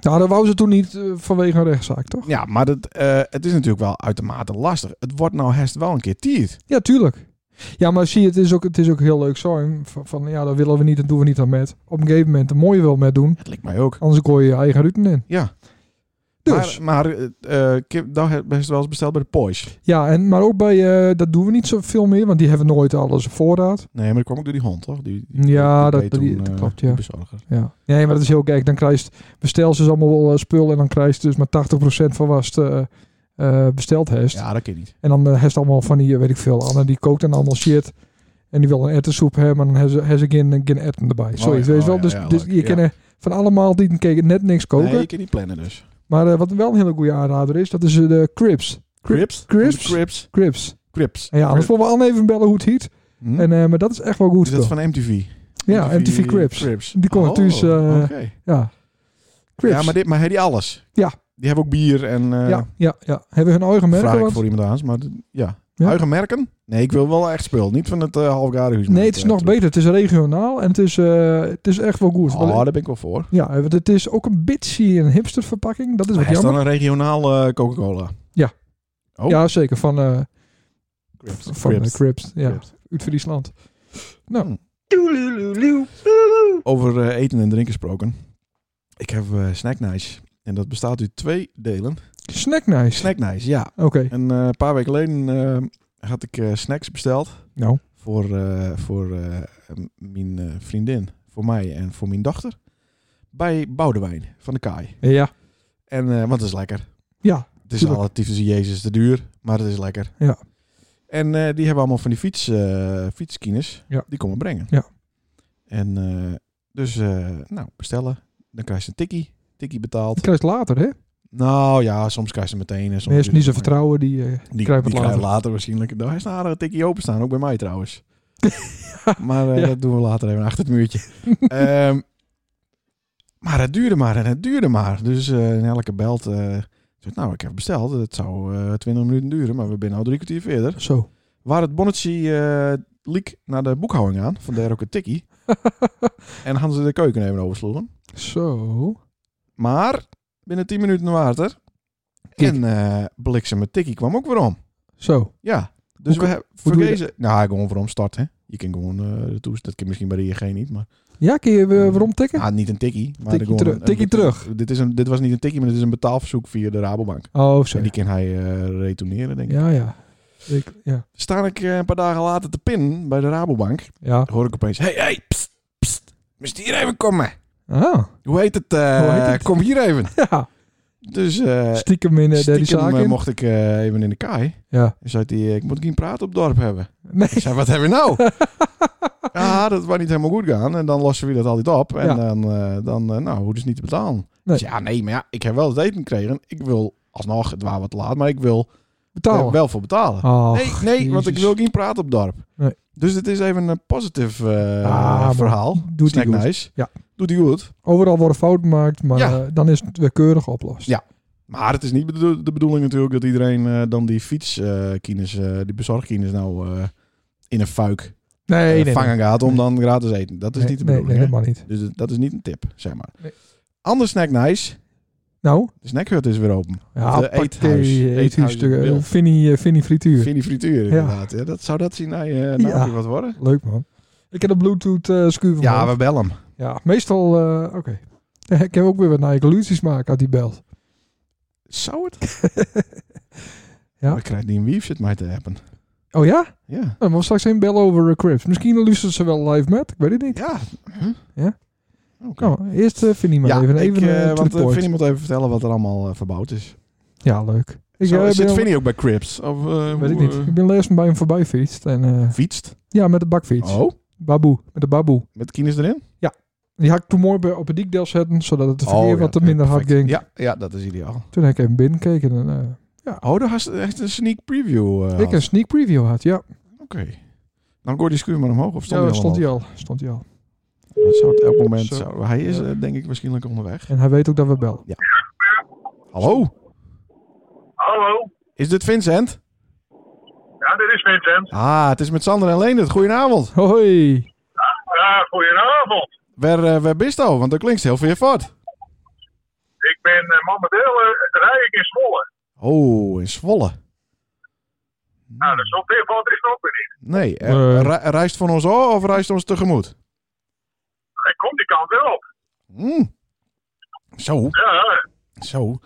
Speaker 3: Nou, dat wou ze toen niet eh, vanwege een rechtszaak, toch?
Speaker 1: Ja, maar dat, eh, het is natuurlijk wel uitermate lastig. Het wordt nou herst wel een keer tiert.
Speaker 3: Ja, tuurlijk. Ja, maar zie, je, het is ook, het is ook heel leuk zo. Van, van, ja, dat willen we niet en doen we niet aan met. Op een gegeven moment, de mooie wel met doen.
Speaker 1: Het lijkt mij ook.
Speaker 3: Anders gooi je je eigen ruten in.
Speaker 1: Ja.
Speaker 3: Dus,
Speaker 1: Maar, maar eh, eh, Kim, daar heb je wel eens besteld bij de Porsche.
Speaker 3: ja, en, maar ook bij, eh, dat doen we niet zoveel meer, want die hebben nooit alles op voorraad.
Speaker 1: Nee, maar dat kwam ook door die hond, toch? Die,
Speaker 3: Ja, dat-
Speaker 1: deed
Speaker 3: dat- die-
Speaker 1: eh,
Speaker 3: dat klopt, ja.
Speaker 1: die bezorger.
Speaker 3: Ja. Nee, maar dat is heel gek. Dan krijg je, bestel ze dus allemaal wel eh, spul en dan krijg je dus maar 80% van was het, eh, eh, besteld heeft.
Speaker 1: Ja, dat kan niet.
Speaker 3: En dan eh, heeft ze allemaal van die, eh, weet ik veel, Anne die kookt dan allemaal shit. En die wil een ettensoep hebben, maar dan heeft ze- heeft ze geen, eh, geen etten erbij. Sorry,
Speaker 1: ja,
Speaker 3: weet je
Speaker 1: oh
Speaker 3: wel.
Speaker 1: ja,
Speaker 3: dus
Speaker 1: ja,
Speaker 3: dus
Speaker 1: leuk,
Speaker 3: je
Speaker 1: ja.
Speaker 3: kan er van allemaal die keken net niks koken.
Speaker 1: Nee, je kan niet plannen dus.
Speaker 3: Maar eh, wat wel een hele goede aanrader is, dat is eh, de Crips.
Speaker 1: Crips?
Speaker 3: Crips?
Speaker 1: Crips.
Speaker 3: Crips.
Speaker 1: Crips.
Speaker 3: En ja, anders willen we Anne even bellen hoe het heet.
Speaker 1: Hm?
Speaker 3: En, eh, maar dat is echt wel goed.
Speaker 1: Is dat
Speaker 3: spul.
Speaker 1: van MTV?
Speaker 3: ja, MTV Crips. Die kon
Speaker 1: komen
Speaker 3: het dus, eh, Ja. Crips.
Speaker 1: Oh, Ja, maar, dit, maar hebben die alles?
Speaker 3: Ja.
Speaker 1: Die hebben ook bier en... eh
Speaker 3: ja, ja, ja. Hebben hun eigen merken
Speaker 1: vraag ik
Speaker 3: wat?
Speaker 1: voor iemand aan, maar d- ja.
Speaker 3: Ja.
Speaker 1: Eigen merken? Nee, ik wil wel echt spul. Niet van het eh halfgare huis.
Speaker 3: Nee, het is nog beter. Het is regionaal en het is, eh, het is echt wel goed.
Speaker 1: Oh, daar ben ik wel voor.
Speaker 3: Ja, want het is ook een beetje een hipster verpakking. Dat is wat
Speaker 1: Hij is
Speaker 3: jammer.
Speaker 1: dan een regionaal eh, Coca-Cola. Oh.
Speaker 3: Ja, zeker. Van, eh
Speaker 1: Crips.
Speaker 3: van
Speaker 1: Crips.
Speaker 3: Crips. Crips. Ja,
Speaker 1: Crips.
Speaker 3: uit Friesland. Nou,
Speaker 1: Hm. Over eh, eten en drinken gesproken. Ik heb eh snacknice. En dat bestaat uit twee delen.
Speaker 3: snack nice.
Speaker 1: Snacknice, ja.
Speaker 3: Oké,
Speaker 1: En eh, een paar weken geleden eh, had ik eh, snacks besteld.
Speaker 3: nou.
Speaker 1: voor, eh, voor eh, m- mijn eh, vriendin, voor mij en voor mijn dochter. Bij Boudewijn van de Kaai.
Speaker 3: Ja,
Speaker 1: En, eh, want het is lekker.
Speaker 3: ja.
Speaker 1: Het is
Speaker 3: Tuurlijk.
Speaker 1: relatief gezien Jezus te duur, maar het is lekker.
Speaker 3: Ja.
Speaker 1: En eh, die hebben allemaal van die fiets, eh fietskines.
Speaker 3: Ja.
Speaker 1: Die komen brengen.
Speaker 3: Ja.
Speaker 1: En eh, dus, eh, nou, bestellen. Dan krijg je een tikkie. Tikkie betaald.
Speaker 3: Dat krijg je later, hè?
Speaker 1: Nou ja, soms krijg je ze meteen. En soms
Speaker 3: Mensen niet zo
Speaker 1: maar-
Speaker 3: vertrouwen, die eh
Speaker 1: die, die
Speaker 3: krijgen het later.
Speaker 1: krijgen later waarschijnlijk. Daar is een aardige tikkie openstaan, ook bij mij
Speaker 3: <laughs>
Speaker 1: trouwens. maar eh,
Speaker 3: Ja.
Speaker 1: dat doen we later even achter het
Speaker 3: <laughs>
Speaker 1: muurtje. Ehm, maar het duurde maar en het duurde maar. Dus eh en elke belt. eh, zegt, nou, ik heb besteld. Het zou eh 20 minuten duren, maar we zijn al drie kwartier verder.
Speaker 3: Zo.
Speaker 1: Waar het bonnetje eh liek naar de boekhouding aan, vandaar ook een
Speaker 3: <laughs>
Speaker 1: tikkie. en hadden ze de keuken even oversloegen.
Speaker 3: Zo.
Speaker 1: Maar binnen 10 minuten water.
Speaker 3: Kijk.
Speaker 1: En eh bliksem met tikkie kwam ook weer om.
Speaker 3: Zo.
Speaker 1: Ja. Dus
Speaker 3: Hoe
Speaker 1: we hebben
Speaker 3: hoe
Speaker 1: voor
Speaker 3: doe je
Speaker 1: deze... Nou, gewoon voor omstart, hè. Je kan gewoon eh de toest... Dat kan misschien bij de ING niet, maar...
Speaker 3: Ja, kun je weer waarom tikken?
Speaker 1: Ah, niet een tikkie. Maar
Speaker 3: Tikkie
Speaker 1: gewoon
Speaker 3: terug-
Speaker 1: een- een-
Speaker 3: tikkie terug.
Speaker 1: Dit, is een, dit was niet een tikkie, maar dit is een betaalverzoek via de Rabobank.
Speaker 3: Oh, zo.
Speaker 1: En die kan hij eh, retourneren, denk ik.
Speaker 3: Ja, ja. Ik, ja.
Speaker 1: Sta ik eh, een paar dagen later te pinnen bij de Rabobank.
Speaker 3: Ja.
Speaker 1: hoor ik opeens... hey, hey, pst, pst. Moest hier even komen.
Speaker 3: Ah. <laughs>
Speaker 1: Hoe heet het? eh,
Speaker 3: Hoe heet het?
Speaker 1: Kom hier even.
Speaker 3: Ja.
Speaker 1: Dus eh
Speaker 3: Stiekem in eh, die
Speaker 1: stiekem
Speaker 3: zaak
Speaker 1: eh,
Speaker 3: in.
Speaker 1: mocht ik eh, even in de kaai. <laughs>
Speaker 3: Ja.
Speaker 1: En zei hij, eh, ik moet geen praat op het dorp hebben.
Speaker 3: Nee.
Speaker 1: Ik zei, wat hebben we nou? <laughs> ja, dat was niet helemaal goed gaan. En dan lossen we dat altijd op. En
Speaker 3: Ja.
Speaker 1: dan, eh, dan eh, nou, hoe dus niet te betalen?
Speaker 3: Nee.
Speaker 1: Dus ja, nee, maar ja, ik heb wel het eten gekregen. Ik wil, alsnog, het was wat laat, maar ik wil er
Speaker 3: Betalen.
Speaker 1: wel voor betalen.
Speaker 3: Ah.
Speaker 1: nee, nee, want ik
Speaker 3: Jezus.
Speaker 1: wil geen praat op het dorp.
Speaker 3: Nee.
Speaker 1: Dus het is even een positief eh,
Speaker 3: Ah, maar
Speaker 1: verhaal.
Speaker 3: doet
Speaker 1: Snack
Speaker 3: hij goed.
Speaker 1: nice.
Speaker 3: Ja.
Speaker 1: Doet hij goed.
Speaker 3: Overal worden fouten gemaakt, maar
Speaker 1: Ja.
Speaker 3: eh, dan is het weer keurig oplost.
Speaker 1: Ja. Maar het is niet bedo- de bedoeling natuurlijk dat iedereen eh, dan die fietskines, eh die bezorgkines nou eh, in een fuik
Speaker 3: Nee,
Speaker 1: eh,
Speaker 3: nee, nee.
Speaker 1: vangen gaat om dan gratis eten. Dat is
Speaker 3: Nee,
Speaker 1: niet de
Speaker 3: nee,
Speaker 1: bedoeling.
Speaker 3: Nee,
Speaker 1: hè?
Speaker 3: helemaal niet.
Speaker 1: Dus dat- dat is niet een tip, zeg maar.
Speaker 3: Nee.
Speaker 1: Ander snack nice.
Speaker 3: Nou,
Speaker 1: De snackhut is weer open.
Speaker 3: ja,
Speaker 1: de
Speaker 3: pak
Speaker 1: eh, eethuis. Eethuis
Speaker 3: die
Speaker 1: in
Speaker 3: eethuisstukken.
Speaker 1: beeld.
Speaker 3: Finny, eh, Finny frituur.
Speaker 1: Vinnie frituur inderdaad. Ja, dat, zou dat zien nou, eh, nou
Speaker 3: Ja.
Speaker 1: weer wat worden?
Speaker 3: Leuk man. Ik heb een Bluetooth eh schuur van
Speaker 1: Ja,
Speaker 3: me.
Speaker 1: we bellen hem.
Speaker 3: ja, meestal. eh, Oké. <laughs> Ik heb ook weer wat naar illusies maken uit die belt.
Speaker 1: Zou het?
Speaker 3: <laughs> Ja.
Speaker 1: Maar Ik krijg die een wief zit mij te hebben.
Speaker 3: Oh ja?
Speaker 1: Ja.
Speaker 3: Dan moet straks een bel over eh, Crips. Misschien luisteren ze wel live met. Ik weet het niet.
Speaker 1: Ja. Huh?
Speaker 3: Ja.
Speaker 1: Oké.
Speaker 3: Nou, eerst eh Finny maar
Speaker 1: ja,
Speaker 3: even.
Speaker 1: ik,
Speaker 3: Even
Speaker 1: eh,
Speaker 3: eh, to the
Speaker 1: want eh,
Speaker 3: point.
Speaker 1: Vinnie moet even vertellen wat er allemaal eh, verbouwd is.
Speaker 3: Ja, leuk. Ik
Speaker 1: Zo,
Speaker 3: eh, ben
Speaker 1: zit
Speaker 3: al-
Speaker 1: Vinnie ook bij Crips? Of, eh,
Speaker 3: Weet ik
Speaker 1: hoe,
Speaker 3: niet.
Speaker 1: eh,
Speaker 3: Ik ben laatst bij hem voorbij gefietst En, eh,
Speaker 1: fietst?
Speaker 3: ja, met de bakfiets.
Speaker 1: Oh,
Speaker 3: Baboe. Met de baboe.
Speaker 1: met kines erin?
Speaker 3: Die had ik toen mooi bij- op het dekdel zetten, zodat het verkeer
Speaker 1: oh, ja,
Speaker 3: wat
Speaker 1: ja,
Speaker 3: minder hard
Speaker 1: perfect.
Speaker 3: ging.
Speaker 1: Ja, ja, dat is ideaal.
Speaker 3: Toen heb ik even binnenkeken en eh,
Speaker 1: Oh, daar had je echt een sneak preview. eh,
Speaker 3: ik een sneak preview had. Ja,
Speaker 1: Oké. Dan kon die schuur maar omhoog of
Speaker 3: stond,
Speaker 1: stond,
Speaker 3: ja,
Speaker 1: hij,
Speaker 3: stond hij
Speaker 1: al?
Speaker 3: al. Stond hij al.
Speaker 1: omhoog? Dat zou het elk moment...
Speaker 3: Zo.
Speaker 1: zou- hij is
Speaker 3: Ja.
Speaker 1: eh, denk ik waarschijnlijk onderweg.
Speaker 3: En hij weet ook dat we bellen.
Speaker 1: Hallo,
Speaker 2: Hallo,
Speaker 1: is dit Vincent?
Speaker 2: ja, dit is Vincent.
Speaker 1: Ah, het is met Sander en Leendert. Goedenavond.
Speaker 3: Hoi.
Speaker 2: Ja, goedenavond.
Speaker 1: Waar, eh, waar bist u? Want dat klinkt heel veel voort.
Speaker 2: Ik ben eh, momenteel eh, rij ik in Zwolle.
Speaker 1: Oh, in Zwolle.
Speaker 2: Nou, dat is op dit moment is het ook weer niet.
Speaker 1: Nee, eh,
Speaker 3: Nee.
Speaker 1: re- reist van ons af of reist ons tegemoet?
Speaker 2: Hij komt die kant wel op.
Speaker 1: Mm. Zo,
Speaker 2: Ja,
Speaker 1: zo.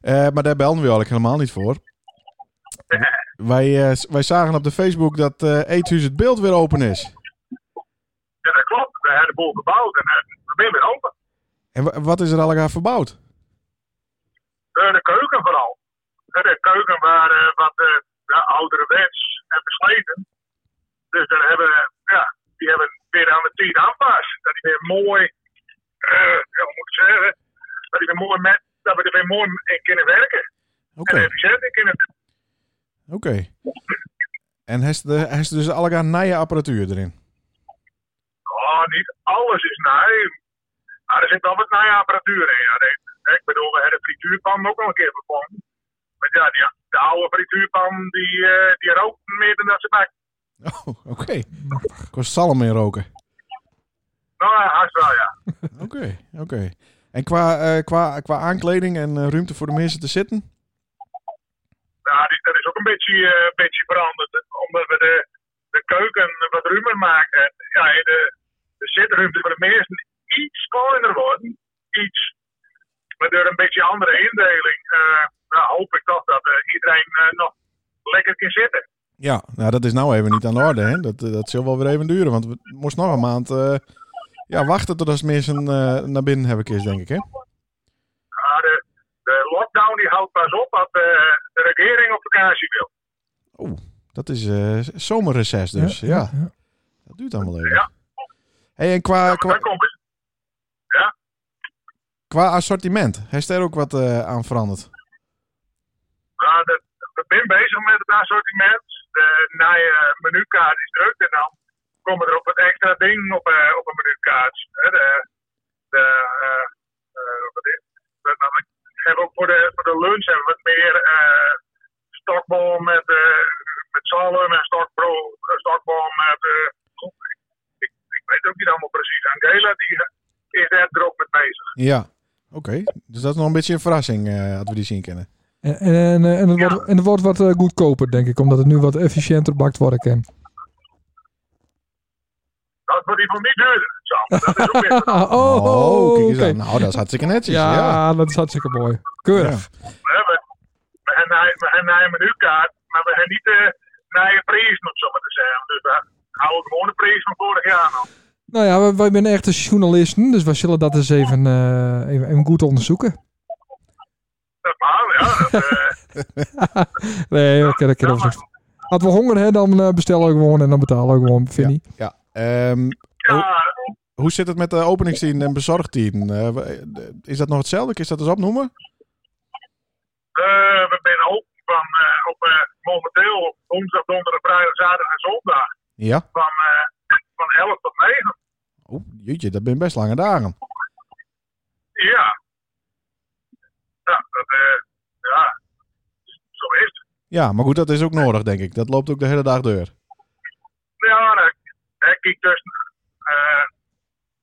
Speaker 1: Eh, maar daar belden we eigenlijk helemaal niet voor. Wij, eh, s- wij zagen op de Facebook dat eh Eethuis het beeld weer open is.
Speaker 2: ja, dat klopt. We hebben de boel gebouwd en eh, we zijn weer open.
Speaker 1: En wa- wat is er allemaal verbouwd?
Speaker 2: Eh, de keuken vooral. de keuken waren wat eh ja, ouderwets en besleten. Dus daar hebben, ja, die hebben weer aan de tijd aanpas. Dat die weer mooi, eh, ja, hoe moet ik zeggen, dat die weer mooi met, dat we er weer mooi in kunnen werken.
Speaker 1: Oké,
Speaker 2: En efficiënt in kunnen
Speaker 1: oké. En heeft de- heeft dus allemaal nieuwe apparatuur erin?
Speaker 2: Oh, niet alles is naai. Maar er zit wel wat naaiapparatuur in. Ja, Nee, ik bedoel, we hebben de frituurpan ook nog een keer vervangen. Maar ja, die, de oude frituurpan die, eh, die rookt meer dan dat ze maakt.
Speaker 1: <laughs> Oh, oké. Kost zalm in roken.
Speaker 2: Nou, ja, haast wel, ja.
Speaker 1: Oké, oké. En qua, eh, qua, qua aankleding en eh, ruimte voor de mensen te zitten?
Speaker 2: ja Nou, die, dat is ook een beetje, eh, een beetje veranderd. Omdat we de, de keuken wat ruimer maken. En, ja, en de, de zitruimte voor de meesten iets kleiner worden. Iets. Maar door een beetje andere indeling eh, nou, hoop ik toch dat eh, iedereen eh, nog lekker kan zitten.
Speaker 1: Ja, nou dat is nou even niet aan de orde. Hè? Dat, eh, dat zal wel weer even duren. Want we moesten nog een maand eh, ja, wachten tot als mensen eh, naar binnen hebben kist, denk ik. Hè?
Speaker 2: Maar de, de lockdown die houdt pas op als de, de regering op vakantie wil.
Speaker 1: Oeh, dat is eh, zomerreces dus. Ja, dat duurt dan wel even.
Speaker 2: Ja.
Speaker 1: Hey, en qua,
Speaker 2: Dan
Speaker 1: qua,
Speaker 2: komt het.
Speaker 1: qua assortiment, heeft er ook wat eh, aan veranderd?
Speaker 2: Maar de, we zijn bezig met het assortiment. De nieuwe menukaart is druk en dan komen er ook wat extra dingen op, eh, op een menukaart. Hè, De, de, eh, eh, wat is het? We hebben- we hebben ook voor de, voor de lunch hebben we wat meer eh stokbal met, eh met zalm en stokbro, eh, stokbal met. eh, goh, ik, ik weet ook niet allemaal precies. Angela die is er druk mee bezig.
Speaker 1: Ja, oké. Dus dat is nog een beetje een verrassing eh dat we die zien kennen.
Speaker 3: En, en, eh, en, het
Speaker 2: Ja.
Speaker 3: wordt, en het wordt wat eh, goedkoper, denk ik. Omdat het nu wat efficiënter bakt worden kan. <laughs>
Speaker 2: Dat wordt in ieder geval niet duurder, Sam. Dat is ook weer
Speaker 3: Ah, oh, oh,
Speaker 1: kijk eens
Speaker 3: oké.
Speaker 1: aan. Nou, dat is hartstikke netjes.
Speaker 3: Ja,
Speaker 1: ja.
Speaker 3: dat is hartstikke mooi. Keurig.
Speaker 2: hè, we, we hebben een- we hebben een menukaart, maar we hebben niet eh, de nieuwe prijzen, om zo maar te zeggen. Dus we houden gewoon de prijs van vorig jaar nog.
Speaker 3: Nou ja, wij, wij zijn echte journalisten. Dus wij zullen dat eens even, eh, even, even goed onderzoeken.
Speaker 2: Dat maar, ja. Dat, eh,
Speaker 3: Nee, oké, dat kan ons niet. Als we honger hebben, dan eh, bestellen we gewoon en dan betalen we gewoon, vind ik.
Speaker 1: ja. Ehm,
Speaker 2: ja,
Speaker 1: hoe zit het met de openingstien en bezorgtien? Eh, w- eh, is dat nog hetzelfde? Is dat eens opnoemen?
Speaker 2: eh, we zijn open van, eh, op eh, momenteel op woensdag, donderdag, vrijdag, zaterdag en zondag
Speaker 1: Ja.
Speaker 2: van, eh, van 11 tot 9.
Speaker 1: Oeh, jeetje, dat zijn best lange dagen.
Speaker 2: Ja. Ja, dat, eh, ja. Zo is het.
Speaker 1: Ja, maar goed, dat is ook nodig, denk ik. Dat loopt ook de hele dag door.
Speaker 2: Ja, dan kijk ik tussen, eh,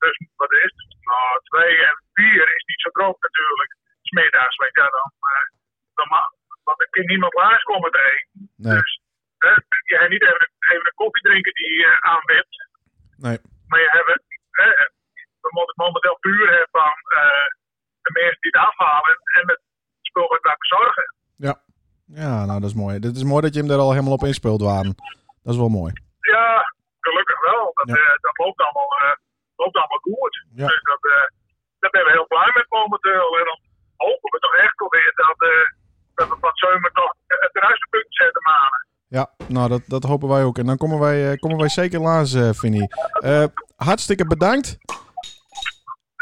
Speaker 2: tussen, wat is het? Nou, twee en vier is niet zo droog natuurlijk. Smiddags, weet je, dan, eh, dan ma- want er kan niemand langskomen te eten.
Speaker 1: Nee,
Speaker 2: Dus eh, je hebt niet even, een- even een koffie drinken die je aanwipt,
Speaker 1: nee.
Speaker 2: maar je hebt, eh, we moeten momenteel puur hebben van eh, de mensen die het afhalen en het spul wat wij bezorgen.
Speaker 1: Ja. Ja, nou, dat is mooi. Het is mooi dat je hem daar al helemaal op inspeelt, Waan. Dat is wel mooi.
Speaker 2: Ja, gelukkig wel. Dat,
Speaker 1: Ja.
Speaker 2: eh, dat loopt allemaal, eh, loopt allemaal goed.
Speaker 1: Ja.
Speaker 2: Dus dat, eh, daar ben we heel blij mee momenteel. En dan hopen we toch echt alweer dat, eh, dat we van zomer toch het ruisterpunt zetten maken.
Speaker 1: Ja, nou, dat, dat hopen wij ook. En dan komen wij, eh, komen wij zeker langs, eh Vinnie. Eh, hartstikke bedankt.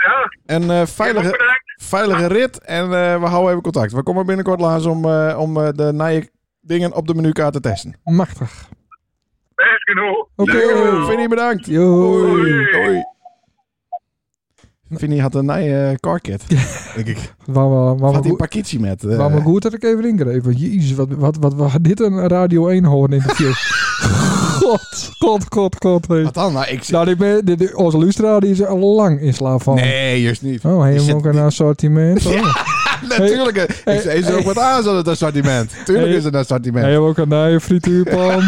Speaker 2: Ja,
Speaker 1: En eh,
Speaker 2: ook
Speaker 1: veilige,
Speaker 2: bedankt.
Speaker 1: veilige rit. En eh, we houden even contact. We komen binnenkort langs om, eh, om eh, de nieuwe dingen op de menukaart te testen.
Speaker 3: Machtig.
Speaker 2: Best genoeg.
Speaker 3: Oké.
Speaker 1: Yo, Vinnie, bedankt.
Speaker 3: Jooi.
Speaker 2: Hoi.
Speaker 1: Hoi. Vinnie had een nieuwe carkit, denk ik.
Speaker 3: Waar we, waar we
Speaker 1: Had hij een
Speaker 3: goed-
Speaker 1: pakketje met? eh,
Speaker 3: Maar maar goed dat ik even ingreep. Want jezus, wat, wat, wat, wat dit een Radio 1 hoorn
Speaker 1: <laughs>
Speaker 3: interview. god, god, god, god. hé.
Speaker 1: wat dan? Nou, ik
Speaker 3: Nou, dit ben, dit- dit- onze Lustra die is al lang in slaap van.
Speaker 1: Nee, juist niet.
Speaker 3: Nou. Oh,
Speaker 1: Die
Speaker 3: helemaal
Speaker 1: zit-
Speaker 3: ook een
Speaker 1: <laughs>
Speaker 3: assortiment. Oh.
Speaker 1: Natuurlijk.
Speaker 3: Hey,
Speaker 1: eh, Ik zei ze ook
Speaker 3: hey.
Speaker 1: wat aan zo'n assortiment. Tuurlijk
Speaker 3: Hey.
Speaker 1: is het een assortiment.
Speaker 3: Helemaal ook een nieuwe
Speaker 1: <laughs>
Speaker 3: frituurpan.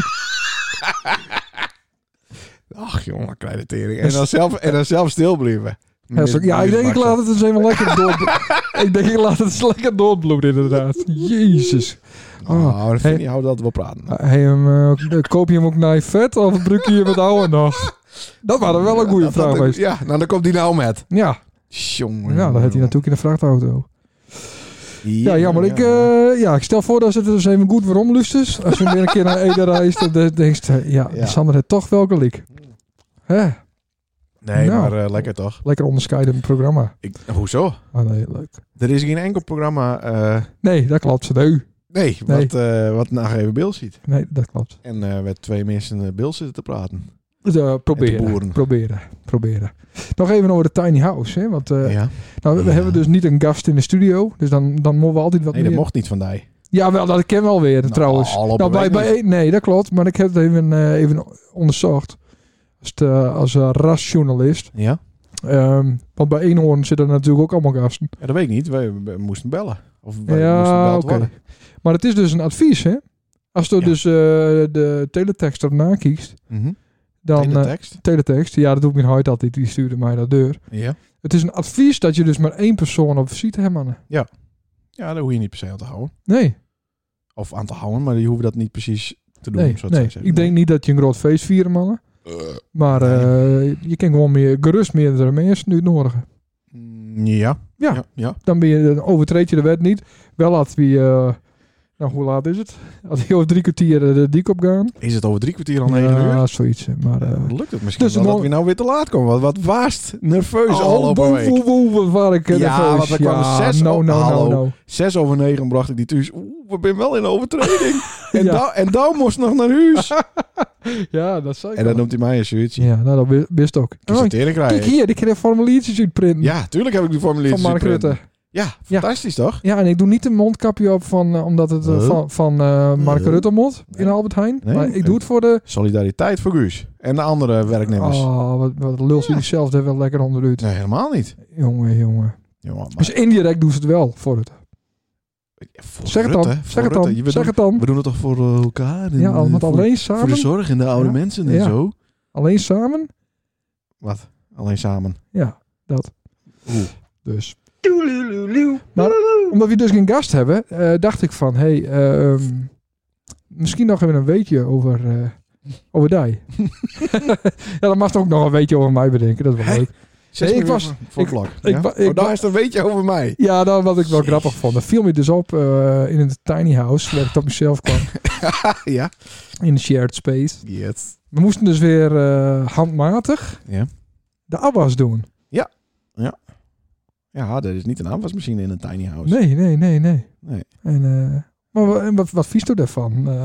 Speaker 1: Ach jongen, kleine tering. En dan zelf, en dan zelf stil blijven.
Speaker 3: Ja, zo- ja, ik denk ik laat het eens even lekker door.
Speaker 1: <laughs>
Speaker 3: ik denk ik laat het eens lekker doorbloeden inderdaad. Jezus.
Speaker 1: Oh, dan vind
Speaker 3: Hey.
Speaker 1: je houdt altijd wel praten.
Speaker 3: Hey, hem, eh, koop je hem ook naar je vet of gebruik je hem het
Speaker 1: <laughs>
Speaker 3: oude nog? Dat waren wel een goede
Speaker 1: Dat- dat-
Speaker 3: vraag. geweest.
Speaker 1: Ja, nou dan komt die nou met.
Speaker 3: Ja,
Speaker 1: Jongen.
Speaker 3: nou, dat had hij
Speaker 1: jongen.
Speaker 3: natuurlijk in de vrachtauto. Ja, jammer. Ik, eh, ja, ik stel voor dat ze het eens even goed waarom lusters. Als je weer een keer naar Ede reist, dan denk je, ja,
Speaker 1: Ja.
Speaker 3: Sander heeft toch wel gelijk. Hè,
Speaker 1: Nee,
Speaker 3: Nou.
Speaker 1: maar eh, lekker toch?
Speaker 3: lekker onderscheidend programma.
Speaker 1: Ik, hoezo?
Speaker 3: Ah nee, leuk.
Speaker 1: Er is geen enkel programma. eh,
Speaker 3: Nee, dat klopt. Nee,
Speaker 1: nee,
Speaker 3: Nee.
Speaker 1: Wat, eh wat nou even Bill ziet.
Speaker 3: nee dat klopt.
Speaker 1: En eh met twee mensen eh, Bill zitten te praten.
Speaker 3: Dus, eh,
Speaker 1: En de boeren.
Speaker 3: proberen, proberen, proberen. Nog even over de tiny house, hè? Want eh,
Speaker 1: ja.
Speaker 3: nou, we
Speaker 1: Ja.
Speaker 3: hebben dus niet een gast in de studio, dus dan, dan moeten we altijd wat
Speaker 1: Nee, dat
Speaker 3: meer.
Speaker 1: mocht niet van die.
Speaker 3: Ja, wel, dat ken wel weer
Speaker 1: Nou,
Speaker 3: trouwens.
Speaker 1: al op
Speaker 3: Nou,
Speaker 1: een
Speaker 3: bij,
Speaker 1: week
Speaker 3: bij, nee, dat klopt. Maar ik heb het even, eh, even onderzocht. Als, het, eh, als eh, rasjournalist.
Speaker 1: Ja?
Speaker 3: Ehm, want bij Eenhoorn zitten er natuurlijk ook allemaal gasten.
Speaker 1: ja? Dat weet ik niet. Wij, wij moesten bellen. Of wij moesten
Speaker 3: ja,
Speaker 1: gebeld
Speaker 3: oké.
Speaker 1: worden.
Speaker 3: Maar het is dus een advies, hè? Als je
Speaker 1: Ja.
Speaker 3: dus eh, de teletext erna kiest,
Speaker 1: Mhm.
Speaker 3: dan...
Speaker 1: In de
Speaker 3: eh,
Speaker 1: tekst.
Speaker 3: teletext, ja, dat doe ik mijn huid altijd. Die stuurde mij naar de deur.
Speaker 1: Ja.
Speaker 3: Het is een advies dat je dus maar één persoon op visite hebt, mannen.
Speaker 1: ja, daar hoef je niet per se aan te houden.
Speaker 3: Nee,
Speaker 1: Of aan te houden, maar die hoeven dat niet precies te doen.
Speaker 3: nee,
Speaker 1: zo te
Speaker 3: nee.
Speaker 1: zeggen.
Speaker 3: Ik denk niet dat je een groot feest vieren, mannen.
Speaker 1: Eh,
Speaker 3: Maar eh, je kan gewoon meer, gerust meerdere mensen nu nodig.
Speaker 1: mm, ja.
Speaker 3: Ja.
Speaker 1: Ja. ja.
Speaker 3: Dan, ben je, dan overtreed je de wet niet. Wel laat wie... eh, nou, hoe laat is het? Als je over drie kwartier eh, de diek op gaan.
Speaker 1: Is het over drie kwartier al negen uur?
Speaker 3: Ja, zoiets. eh, Maar... eh,
Speaker 1: Dan lukt het misschien
Speaker 3: dus
Speaker 1: wel dat
Speaker 3: dan-
Speaker 1: we nou weer te laat komen. Wat, wat waast nerveus al
Speaker 3: Oh,
Speaker 1: op een
Speaker 3: woe,
Speaker 1: week.
Speaker 3: woe, woe, woe, waar ik eh,
Speaker 1: Ja,
Speaker 3: nerveus.
Speaker 1: want er kwamen
Speaker 3: Ja,
Speaker 1: zes
Speaker 3: no,
Speaker 1: op.
Speaker 3: no,
Speaker 1: Hallo.
Speaker 3: no, no.
Speaker 1: Zes over negen bracht ik die thuis. Oeh, we zijn wel in
Speaker 3: <laughs>
Speaker 1: overtreding. en
Speaker 3: Ja.
Speaker 1: dan en dan moest nog naar
Speaker 3: <laughs>
Speaker 1: huis.
Speaker 3: Ja, dat zei ik
Speaker 1: en dan
Speaker 3: al.
Speaker 1: noemt hij mij een shirtje. Dus
Speaker 3: Ja, nou, dat wist- wist ook.
Speaker 1: Kies
Speaker 3: Oh,
Speaker 1: het eerlijk
Speaker 3: Kijk
Speaker 1: rijden.
Speaker 3: hier, ik kreeg een formuliertjes uitprinten.
Speaker 1: Ja, tuurlijk heb ik die formulier
Speaker 3: van Mark Rutte.
Speaker 1: Ja,
Speaker 3: Ja.
Speaker 1: fantastisch toch?
Speaker 3: Ja, en ik doe niet een mondkapje op van, eh, omdat het eh,
Speaker 1: Huh?
Speaker 3: van, van eh, Mark
Speaker 1: Huh?
Speaker 3: Rutte moet in
Speaker 1: Nee.
Speaker 3: Albert Heijn.
Speaker 1: Nee.
Speaker 3: Maar ik doe het voor de...
Speaker 1: Solidariteit voor Guus. En de andere werknemers.
Speaker 3: Oh, wat, wat lult hij
Speaker 1: Ja.
Speaker 3: zichzelf daar wel lekker onderuit.
Speaker 1: Nee, helemaal niet.
Speaker 3: Jongen, jongen.
Speaker 1: Jongen, maar-
Speaker 3: Dus indirect doen ze het wel voor het.
Speaker 1: voor
Speaker 3: Zeg het
Speaker 1: Rutte,
Speaker 3: dan.
Speaker 1: voor
Speaker 3: Zeg het
Speaker 1: Rutte.
Speaker 3: dan.
Speaker 1: Je- We,
Speaker 3: Zeg
Speaker 1: doen,
Speaker 3: het dan.
Speaker 1: we doen het toch voor eh, elkaar? En,
Speaker 3: Ja, al-
Speaker 1: eh,
Speaker 3: want
Speaker 1: voor,
Speaker 3: alleen
Speaker 1: voor de
Speaker 3: samen.
Speaker 1: zorg en de oude
Speaker 3: Ja.
Speaker 1: mensen en
Speaker 3: Ja.
Speaker 1: zo.
Speaker 3: Alleen samen.
Speaker 1: Wat? Alleen samen.
Speaker 3: Ja, dat.
Speaker 1: Oeh.
Speaker 3: Dus. Maar omdat we dus geen gast hebben, eh, dacht ik van, hey, ehm, misschien nog even een weetje over, eh over die.
Speaker 1: <laughs>
Speaker 3: ja, dan mag je ook nog een weetje over mij bedenken. Dat is wel
Speaker 1: Hè?
Speaker 3: leuk.
Speaker 1: Zes
Speaker 3: Nee, ik
Speaker 1: minuten
Speaker 3: was-
Speaker 1: voor
Speaker 3: ik-
Speaker 1: blok.
Speaker 3: ik
Speaker 1: ja?
Speaker 3: wa-
Speaker 1: Oh,
Speaker 3: ik
Speaker 1: daar
Speaker 3: wa-
Speaker 1: is het een beetje over mij.
Speaker 3: Ja, dat wat ik wel
Speaker 1: Jezus.
Speaker 3: grappig vond. Dat viel me dus op eh, in het tiny house, waar ik tot mezelf kwam.
Speaker 1: <laughs> ja.
Speaker 3: In de shared space.
Speaker 1: Yes.
Speaker 3: We moesten dus weer eh, handmatig
Speaker 1: Ja.
Speaker 3: de abbas doen.
Speaker 1: Ja, er is niet een afwasmachine in een tiny house.
Speaker 3: Nee, nee, nee, nee.
Speaker 1: Nee.
Speaker 3: En, eh, maar wa- en wat, wat vies doe daarvan? Eh,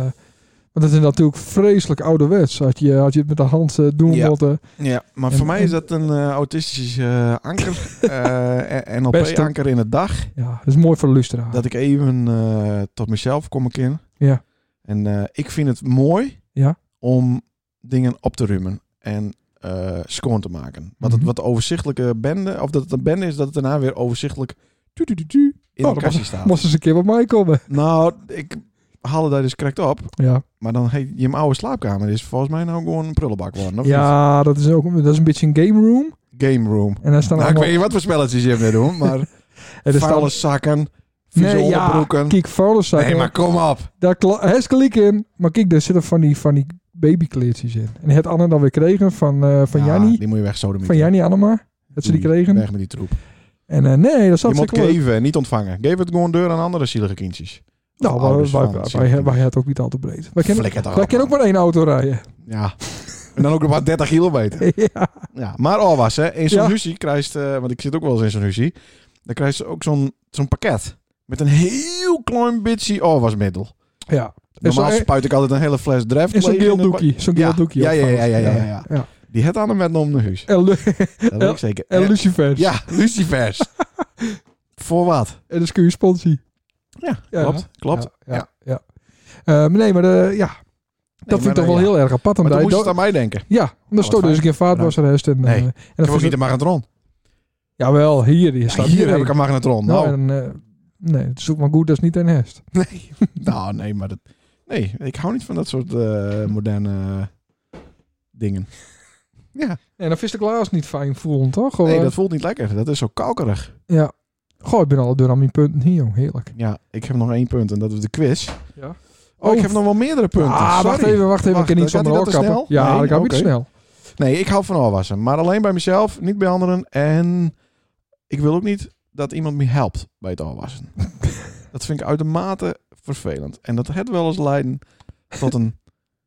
Speaker 3: want dat is natuurlijk vreselijk ouderwets. Als je, als je het met de hand eh, doen
Speaker 1: Ja.
Speaker 3: wilt. eh,
Speaker 1: Ja, maar
Speaker 3: En-
Speaker 1: voor mij
Speaker 3: en-
Speaker 1: is dat een eh, autistisch eh, anker. <laughs> eh,
Speaker 3: Beste.
Speaker 1: NLP-anker in de dag.
Speaker 3: ja, dat is mooi voor de luisteraar.
Speaker 1: Dat ik even eh, tot mezelf kom ik in.
Speaker 3: Ah. Ja.
Speaker 1: En eh, ik vind het mooi
Speaker 3: Ja.
Speaker 1: om dingen op te rummen en eh schoon te maken. Wat, het,
Speaker 3: Mhm.
Speaker 1: wat de overzichtelijke bende, of dat het een bende is, dat het daarna weer overzichtelijk tu- tu- tu- tu in
Speaker 3: Oh,
Speaker 1: de
Speaker 3: dat
Speaker 1: kastje staat.
Speaker 3: Moest eens een keer bij mij komen.
Speaker 1: Nou, ik haalde daar dus correct op.
Speaker 3: Ja,
Speaker 1: Maar dan heet je hem oude slaapkamer is volgens mij nou gewoon een prullenbak worden. Of
Speaker 3: ja dat, is ook, dat is een beetje een game room.
Speaker 1: niet? Game room.
Speaker 3: En daar staan
Speaker 1: Nou, ik
Speaker 3: allemaal...
Speaker 1: weet niet wat voor spelletjes je hebt net doen,
Speaker 3: <laughs>
Speaker 1: maar
Speaker 3: en daar staan-
Speaker 1: vuile zakken, vieze
Speaker 3: Nee, ja,
Speaker 1: onderbroeken.
Speaker 3: Kijk, vuilniszakken.
Speaker 1: nee, maar kom op.
Speaker 3: Daar kla- hij is kliek in. Maar kijk, daar zitten van die, van die babykleertjes in. En het Anne dan weer kregen van, eh van
Speaker 1: Ja,
Speaker 3: Jannie.
Speaker 1: Die moet je weg zo
Speaker 3: Van Jannie Annema. Dat ze die kregen.
Speaker 1: Hmm, Weg met die troep.
Speaker 3: En eh, nee, dat
Speaker 1: Je
Speaker 3: zat
Speaker 1: moet
Speaker 3: zeker leuk.
Speaker 1: geven en niet ontvangen. Geef het gewoon deur aan andere zielige kindjes.
Speaker 3: Nou,
Speaker 1: Of
Speaker 3: wij,
Speaker 1: ouders
Speaker 3: wij,
Speaker 1: van
Speaker 3: wij,
Speaker 1: zielige
Speaker 3: wij, wij het ook niet al te breed. Wij kennen,
Speaker 1: Flikker toch
Speaker 3: wij
Speaker 1: op,
Speaker 3: kennen ook
Speaker 1: man.
Speaker 3: maar één auto rijden.
Speaker 1: Ja. <laughs> En dan ook nog maar 30 kilometer.
Speaker 3: <laughs> ja.
Speaker 1: Ja. Maar alwas, hè. In zo'n
Speaker 3: Ja.
Speaker 1: huzie krijgt... eh, want ik zit ook wel eens in zo'n huzie. Dan krijg je ook zo'n zo'n pakket. Met een heel klein beetje afwasmiddel.
Speaker 3: ja. En
Speaker 1: Normaal
Speaker 3: zo'n
Speaker 1: spuit ik altijd een hele fles dreft
Speaker 3: en zo'n
Speaker 1: leeg in het
Speaker 3: geeldoekie. Zo'n
Speaker 1: Ja,
Speaker 3: geeldoekie.
Speaker 1: ja,
Speaker 3: ook
Speaker 1: ja, ja,
Speaker 3: trouwens.
Speaker 1: ja, ja, ja. pa- Die het aan hem met om naar huis.
Speaker 3: En, lu-
Speaker 1: Dat weet ik zeker.
Speaker 3: en
Speaker 1: Ja.
Speaker 3: lucifers.
Speaker 1: Ja,
Speaker 3: <laughs>
Speaker 1: lucifers. Voor wat?
Speaker 3: En een spuursponsie.
Speaker 1: Ja,
Speaker 3: Ja.
Speaker 1: klopt. Klopt.
Speaker 3: Ja.
Speaker 1: Ja.
Speaker 3: ja, ja. Eh, maar nee, maar de, ja. dat vind ik
Speaker 1: maar
Speaker 3: toch wel
Speaker 1: dan, ja.
Speaker 3: heel erg apart.
Speaker 1: Maar
Speaker 3: omdat
Speaker 1: toen
Speaker 3: je
Speaker 1: moest
Speaker 3: do-
Speaker 1: het aan mij denken.
Speaker 3: Ja,
Speaker 1: Nou, wat
Speaker 3: omdat stond dus
Speaker 1: fijn. Nou.
Speaker 3: een keer vaatwasrest. En,
Speaker 1: Nee.
Speaker 3: eh, en
Speaker 1: Ik
Speaker 3: dat
Speaker 1: heb ook
Speaker 3: vind
Speaker 1: niet
Speaker 3: ik-
Speaker 1: een magnetron.
Speaker 3: Jawel, hier. Je
Speaker 1: Ja,
Speaker 3: staat
Speaker 1: hier heb
Speaker 3: heen.
Speaker 1: ik een magnetron.
Speaker 3: Nou,
Speaker 1: Nou,
Speaker 3: en, eh, nee, zoek maar goed, dat is niet een hest.
Speaker 1: nee. nou, nee, maar dat... Nee, ik hou niet van dat soort eh, moderne dingen. Ja,
Speaker 3: En dan is de glaas niet fijn voelen, toch?
Speaker 1: nee,
Speaker 3: Gewoon-
Speaker 1: dat voelt niet lekker. Dat is zo kalkerig.
Speaker 3: Ja. Goh, ik ben al door aan mijn punten hier, jong. Heerlijk.
Speaker 1: Ja, ik heb nog één punt en dat is de quiz.
Speaker 3: Ja.
Speaker 1: Oh, ik heb nog wel meerdere punten.
Speaker 3: Ah, wacht
Speaker 1: Sorry.
Speaker 3: even, wacht even.
Speaker 1: Wacht,
Speaker 3: ik kan niet
Speaker 1: gaat
Speaker 3: zomaar
Speaker 1: hij dat te
Speaker 3: opkappen.
Speaker 1: snel?
Speaker 3: Ja,
Speaker 1: Nee,
Speaker 3: dat kan niet
Speaker 1: oké.
Speaker 3: snel.
Speaker 1: Nee, ik hou van afwassen. Maar alleen bij mezelf, niet bij
Speaker 3: <laughs>
Speaker 1: anderen. En ik wil ook niet dat iemand me helpt bij het afwassen. Dat vind ik uitermate vervelend. En dat het wel eens leiden tot een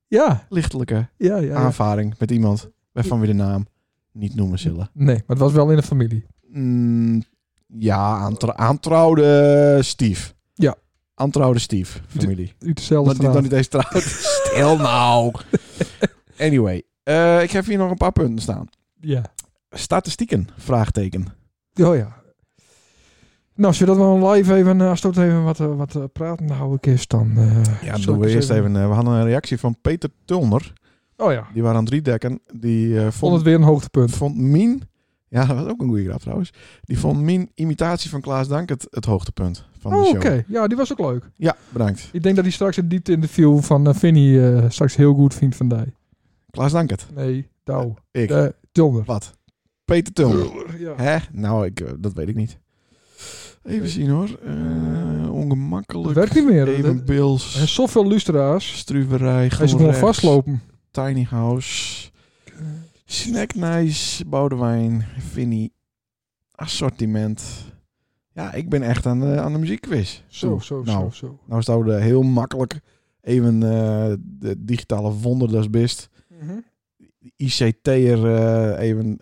Speaker 3: Ja,
Speaker 1: lichtelijke
Speaker 3: ja, ja. ja.
Speaker 1: aanvaring met iemand waarvan we de naam niet noemen zullen.
Speaker 3: Nee, maar het was wel in de familie.
Speaker 1: Mm, ja, aantra- aantrouwde stief.
Speaker 3: Ja.
Speaker 1: Aantrouwde stief, familie.
Speaker 3: Utezelfde
Speaker 1: Dat die dan
Speaker 3: straat.
Speaker 1: niet eens
Speaker 3: <laughs>
Speaker 1: trouwt. Stil nou. Anyway, eh, ik heb hier nog een paar punten staan.
Speaker 3: Ja.
Speaker 1: Statistieken, vraagteken.
Speaker 3: Oh ja. Nou, zodat we dan live even, eh, als het ook even wat, eh, wat eh, praten, dan hou ik eerst dan.
Speaker 1: Ja,
Speaker 3: eh, zal
Speaker 1: dat doen
Speaker 3: ik
Speaker 1: we
Speaker 3: eens
Speaker 1: eerst even. eh, We hadden een reactie van Peter Tulner.
Speaker 3: Oh ja,
Speaker 1: Die waren aan het redekken. Die eh,
Speaker 3: vond het
Speaker 1: vond,
Speaker 3: weer een hoogtepunt.
Speaker 1: vond Mien... Ja, dat was ook een goede grap trouwens. Die vond Mien imitatie van Klaas Dank het, het hoogtepunt van de
Speaker 3: Oh,
Speaker 1: show.
Speaker 3: oké. Ja, die was ook leuk.
Speaker 1: Ja, bedankt.
Speaker 3: Ik denk dat hij straks het diepte interview van eh, Vinnie eh, straks heel goed vindt van Dij.
Speaker 1: Klaas Dank het.
Speaker 3: Nee, Douw.
Speaker 1: Ik.
Speaker 3: Eh Tilner.
Speaker 1: Wat? Peter Tulner.
Speaker 3: Ja.
Speaker 1: Hè? Nou, ik, eh, dat weet ik niet. Even zien hoor. Eh,
Speaker 3: Dat
Speaker 1: ongemakkelijk.
Speaker 3: werkt niet meer.
Speaker 1: Even
Speaker 3: Er zijn
Speaker 1: Bills.
Speaker 3: zoveel luisteraars.
Speaker 1: Struverij.
Speaker 3: Hij is gewoon vastlopen.
Speaker 1: Tiny House. Snack Nice, Boudewijn, Vinnie, Assortiment. Ja, ik ben echt aan de, aan de muziekquiz.
Speaker 3: Zo,
Speaker 1: Toe.
Speaker 3: zo,
Speaker 1: nou,
Speaker 3: zo, zo.
Speaker 1: Nou zouden we heel makkelijk even eh, de digitale wonder dat is best.
Speaker 3: Mhm.
Speaker 1: ICT'er eh, even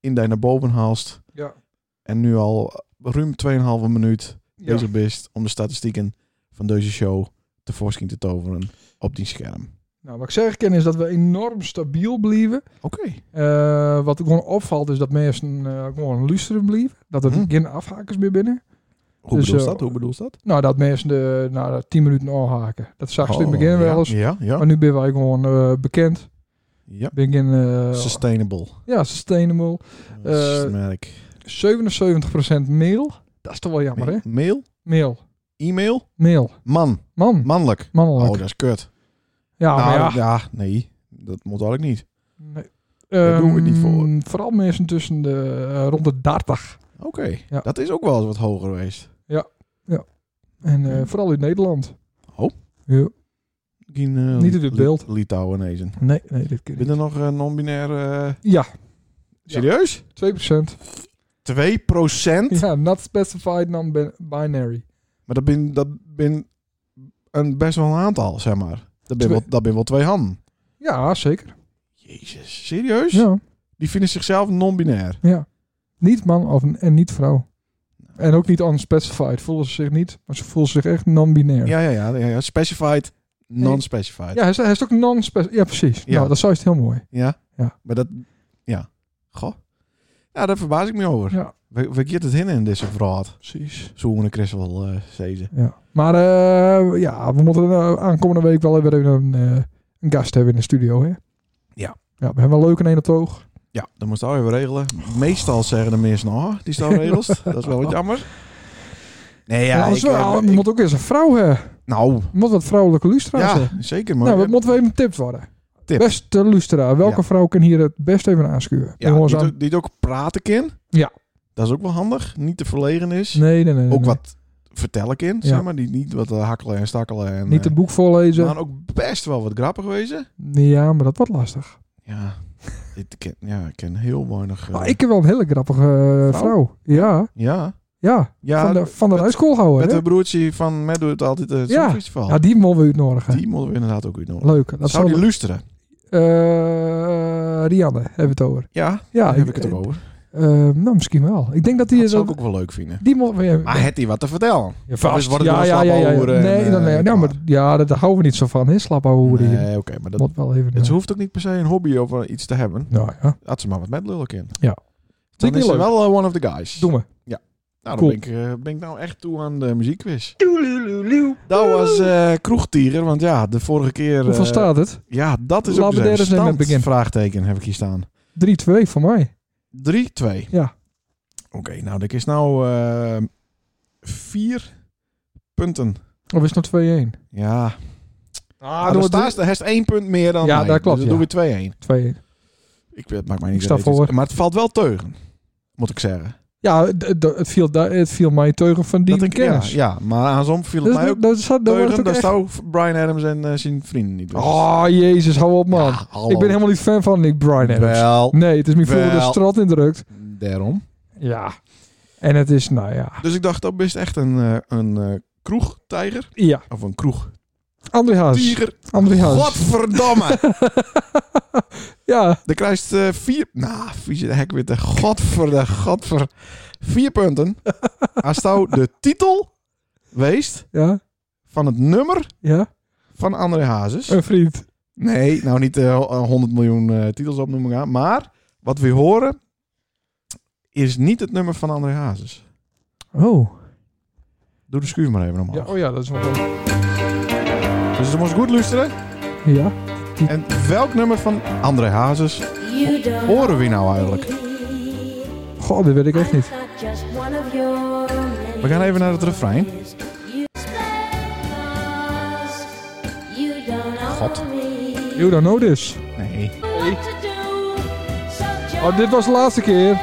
Speaker 1: in die naar boven haalt.
Speaker 3: Ja.
Speaker 1: En nu al ruim 2,5 minuut
Speaker 3: Ja.
Speaker 1: bezig bist om de statistieken van deze show tevoorschijn te toveren op die scherm.
Speaker 3: Nou, wat ik zeg ken is dat we enorm stabiel blijven.
Speaker 1: Oké.
Speaker 3: Eh, wat gewoon opvalt is dat mensen eh, gewoon luisteren blijven. Dat er
Speaker 1: Hm.
Speaker 3: geen afhakers meer binnen.
Speaker 1: Hoe
Speaker 3: Dus,
Speaker 1: bedoel je
Speaker 3: eh,
Speaker 1: dat? Hoe bedoel je dat?
Speaker 3: Nou, dat mensen de, na 10 minuten afhaken. Dat zag je in
Speaker 1: Oh,
Speaker 3: het begin
Speaker 1: ja,
Speaker 3: wel eens.
Speaker 1: Ja, ja.
Speaker 3: Maar nu ben wij gewoon eh, bekend.
Speaker 1: ja.
Speaker 3: Ben ik in, eh,
Speaker 1: Sustainable.
Speaker 3: ja, sustainable.
Speaker 1: Dat merk.
Speaker 3: 77% mail. Dat is toch wel jammer, hè?
Speaker 1: Mail,
Speaker 3: Mail.
Speaker 1: e-mail,
Speaker 3: Mail.
Speaker 1: man,
Speaker 3: Man.
Speaker 1: mannelijk.
Speaker 3: Mannelijk.
Speaker 1: Oh, dat is kut.
Speaker 3: ja, maar
Speaker 1: nou,
Speaker 3: ja.
Speaker 1: nee, dat moet eigenlijk niet.
Speaker 3: Nee.
Speaker 1: Daar doen we het niet voor.
Speaker 3: Ehm, Vooral mensen tussen de eh, rond de 30.
Speaker 1: Oké,
Speaker 3: Ja.
Speaker 1: dat is ook wel eens wat hoger geweest.
Speaker 3: En eh,
Speaker 1: Oké.
Speaker 3: vooral in Nederland.
Speaker 1: Oh.
Speaker 3: Ja.
Speaker 1: Geen, eh,
Speaker 3: Niet in het
Speaker 1: Li-
Speaker 3: beeld.
Speaker 1: Litouwenezen.
Speaker 3: Nee, nee, dit kan niet.
Speaker 1: Ben er nog eh, non-binair... eh,
Speaker 3: Ja,
Speaker 1: serieus?
Speaker 3: 2%.
Speaker 1: 2
Speaker 3: <laughs> Ja, not specified non-binary.
Speaker 1: Maar dat ben, dat ben een best wel een aantal, zeg maar. Dat ben,
Speaker 3: Twee-
Speaker 1: wel, dat ben wel twee handen.
Speaker 3: Ja, zeker.
Speaker 1: Jezus, serieus?
Speaker 3: Ja,
Speaker 1: Die vinden zichzelf non-binair.
Speaker 3: ja. Niet man of en niet vrouw. En ook niet unspecified. Voelen ze zich niet, maar ze voelen zich echt non-binair.
Speaker 1: Ja, ja, ja. ja, ja. Specified, non-specified.
Speaker 3: Ja, hij is, hij is ook non-specified. Ja, precies.
Speaker 1: Ja.
Speaker 3: Nou, dat zou het heel mooi.
Speaker 1: Ja?
Speaker 3: Ja.
Speaker 1: Maar dat... Ja. Goh. Ja, daar verbaas ik me over.
Speaker 3: Ja,
Speaker 1: We, we giet het hin in deze verhaal.
Speaker 3: precies.
Speaker 1: Zo een christel eh zezen.
Speaker 3: Ja. Maar eh, ja, we moeten eh, aankomende week wel weer even een, eh, een gast hebben in de studio. Hè?
Speaker 1: Ja.
Speaker 3: Ja, we hebben wel leuk in een op het oog.
Speaker 1: Ja, dat moest je weer regelen. Meestal zeggen de mensen, oh, die staan
Speaker 3: <laughs>
Speaker 1: regels. dat is wel wat jammer. Nee, ja,
Speaker 3: Ja,
Speaker 1: ik,
Speaker 3: dat is wel-
Speaker 1: eh,
Speaker 3: we
Speaker 1: ik-
Speaker 3: moeten ook eens een vrouw hebben.
Speaker 1: nou,
Speaker 3: We moeten wat vrouwelijke luisteraars
Speaker 1: ja,
Speaker 3: hebben.
Speaker 1: zeker. Maar
Speaker 3: Nou, dat
Speaker 1: eh,
Speaker 3: moeten we even een tip worden.
Speaker 1: Tip.
Speaker 3: Beste luisteraar, welke
Speaker 1: Ja.
Speaker 3: vrouw kan hier het best even aanschuwen?
Speaker 1: ja,
Speaker 3: Jongens
Speaker 1: die,
Speaker 3: aan-
Speaker 1: het ook- die het ook praten kan.
Speaker 3: Ja.
Speaker 1: Dat is ook wel handig. Niet te verlegen is.
Speaker 3: Nee, nee, nee. nee,
Speaker 1: ook
Speaker 3: nee.
Speaker 1: wat vertellen kan,
Speaker 3: Ja.
Speaker 1: zeg maar. Die niet wat eh, hakkelen en stakkelen. En,
Speaker 3: Niet een boek
Speaker 1: eh,
Speaker 3: voorlezen.
Speaker 1: maar ook best wel wat grappig wezen.
Speaker 3: Ja, maar dat wordt lastig.
Speaker 1: Ja, ik ken, ja, ik ken heel weinig... eh,
Speaker 3: Maar ik heb wel een hele grappige eh,
Speaker 1: Vrouw?
Speaker 3: vrouw. Ja,
Speaker 1: Ja.
Speaker 3: ja.
Speaker 1: Ja,
Speaker 3: van de, van de
Speaker 1: met-
Speaker 3: rijschool houden.
Speaker 1: Met
Speaker 3: hè?
Speaker 1: de broertje van Matt doet het altijd het
Speaker 3: Ja.
Speaker 1: Songfestival.
Speaker 3: Ja, die mogen we uitnodigen.
Speaker 1: die moeten we inderdaad ook uitnodigen.
Speaker 3: Leuk. Dat
Speaker 1: Zou
Speaker 3: zou
Speaker 1: die luisteren?
Speaker 3: Eh Rianne hebben we het over.
Speaker 1: Ja,
Speaker 3: Ja,
Speaker 1: daar heb ik het ook over.
Speaker 3: eh, nou, misschien wel. Ik denk dat die...
Speaker 1: Dat zou
Speaker 3: dat-
Speaker 1: ik ook wel leuk vinden.
Speaker 3: Die moet... Ja,
Speaker 1: Maar het die wat te vertellen.
Speaker 3: ja,
Speaker 1: dus worden er
Speaker 3: ja,
Speaker 1: wel
Speaker 3: ja, ja, ja.
Speaker 1: slapouwen en,
Speaker 3: Nee,
Speaker 1: eh,
Speaker 3: dan, nee, nou, maar, ja, dat- daar houden we niet zo van, hè. Slapouwehoeren hier.
Speaker 1: Nee, oké, maar dat,
Speaker 3: Moet wel even...
Speaker 1: het
Speaker 3: eh,
Speaker 1: hoeft ook niet per se een hobby of eh, iets te hebben.
Speaker 3: Nou ja,
Speaker 1: Had ze maar wat met lullen in.
Speaker 3: Ja.
Speaker 1: Dan
Speaker 3: niet
Speaker 1: is ze
Speaker 3: leuk.
Speaker 1: wel eh, one of the guys.
Speaker 3: doe maar.
Speaker 1: nou, dan
Speaker 3: cool.
Speaker 1: ben, ik, eh, ben ik nou echt toe aan de muziekquiz. Dat was eh kroegtieren, want ja, de vorige keer... eh,
Speaker 3: Hoeveel staat het? 3-2
Speaker 1: Ja, dat is ook
Speaker 3: Laten we
Speaker 1: de
Speaker 3: daar eens mee
Speaker 1: stand,
Speaker 3: beginnen.
Speaker 1: vraagteken heb ik hier staan. 3-2.
Speaker 3: voor mij. Ja.
Speaker 1: Oké, nou, dat is nou eh, vier punten.
Speaker 3: Of is het nog 2-1?
Speaker 1: Ja,
Speaker 3: Ah,
Speaker 1: Ah, dan staat hij heeft één punt meer dan
Speaker 3: Ja,
Speaker 1: mij.
Speaker 3: dat klopt,
Speaker 1: Dus dan doe ik 2-1.
Speaker 3: 2-1.
Speaker 1: Ik weet- het maakt mij niet
Speaker 3: Ik sta
Speaker 1: uit.
Speaker 3: voor.
Speaker 1: Maar het valt wel teugen, moet ik zeggen.
Speaker 3: Ja, d- d- het viel, da- het viel mij teugen van die
Speaker 1: dat ik,
Speaker 3: kennis.
Speaker 1: Ja, ja, maar andersom viel het
Speaker 3: Dus
Speaker 1: mij ook
Speaker 3: dat- dat zat- dat wordt
Speaker 1: teugen.
Speaker 3: ook
Speaker 1: Daar
Speaker 3: echt...
Speaker 1: zou Brian Adams en eh, zijn vrienden niet weten.
Speaker 3: Oh, jezus, hou op, man.
Speaker 1: Ja, hallo.
Speaker 3: Ik ben helemaal niet fan van Nick Bryan Adams.
Speaker 1: Wel,
Speaker 3: Nee, het is me voor de
Speaker 1: Wel.
Speaker 3: strot indrukt.
Speaker 1: daarom.
Speaker 3: Ja. En het is, nou ja.
Speaker 1: Dus ik dacht, dat is echt een, eh, een eh, kroegtijger.
Speaker 3: Ja,
Speaker 1: Of een kroegtiger.
Speaker 3: André Haas. André Haas.
Speaker 1: Godverdamme!
Speaker 3: <laughs> Ja,
Speaker 1: Dan krijgt eh vier... Nou, vies de hek weer te godverde, godver... Vier punten. Als nou de titel weest
Speaker 3: ja,
Speaker 1: van het nummer
Speaker 3: ja.
Speaker 1: van André Hazes.
Speaker 3: Een vriend.
Speaker 1: Nee, nou niet eh, ho- eh, 100 miljoen eh, titels opnoemen aan. Maar wat we horen is niet het nummer van André Hazes.
Speaker 3: Oh.
Speaker 1: Doe de schuur maar even omhoog.
Speaker 3: Ja, oh ja, dat is wel leuk.
Speaker 1: Dus ze moest goed luisteren.
Speaker 3: Ja.
Speaker 1: En welk nummer van André Hazes horen we nou eigenlijk?
Speaker 3: Goh, dat weet ik Oh. echt niet.
Speaker 1: We gaan even naar het refrein.
Speaker 3: Oh,
Speaker 1: God.
Speaker 3: You don't know this.
Speaker 1: Nee.
Speaker 3: Oh, dit was de laatste keer.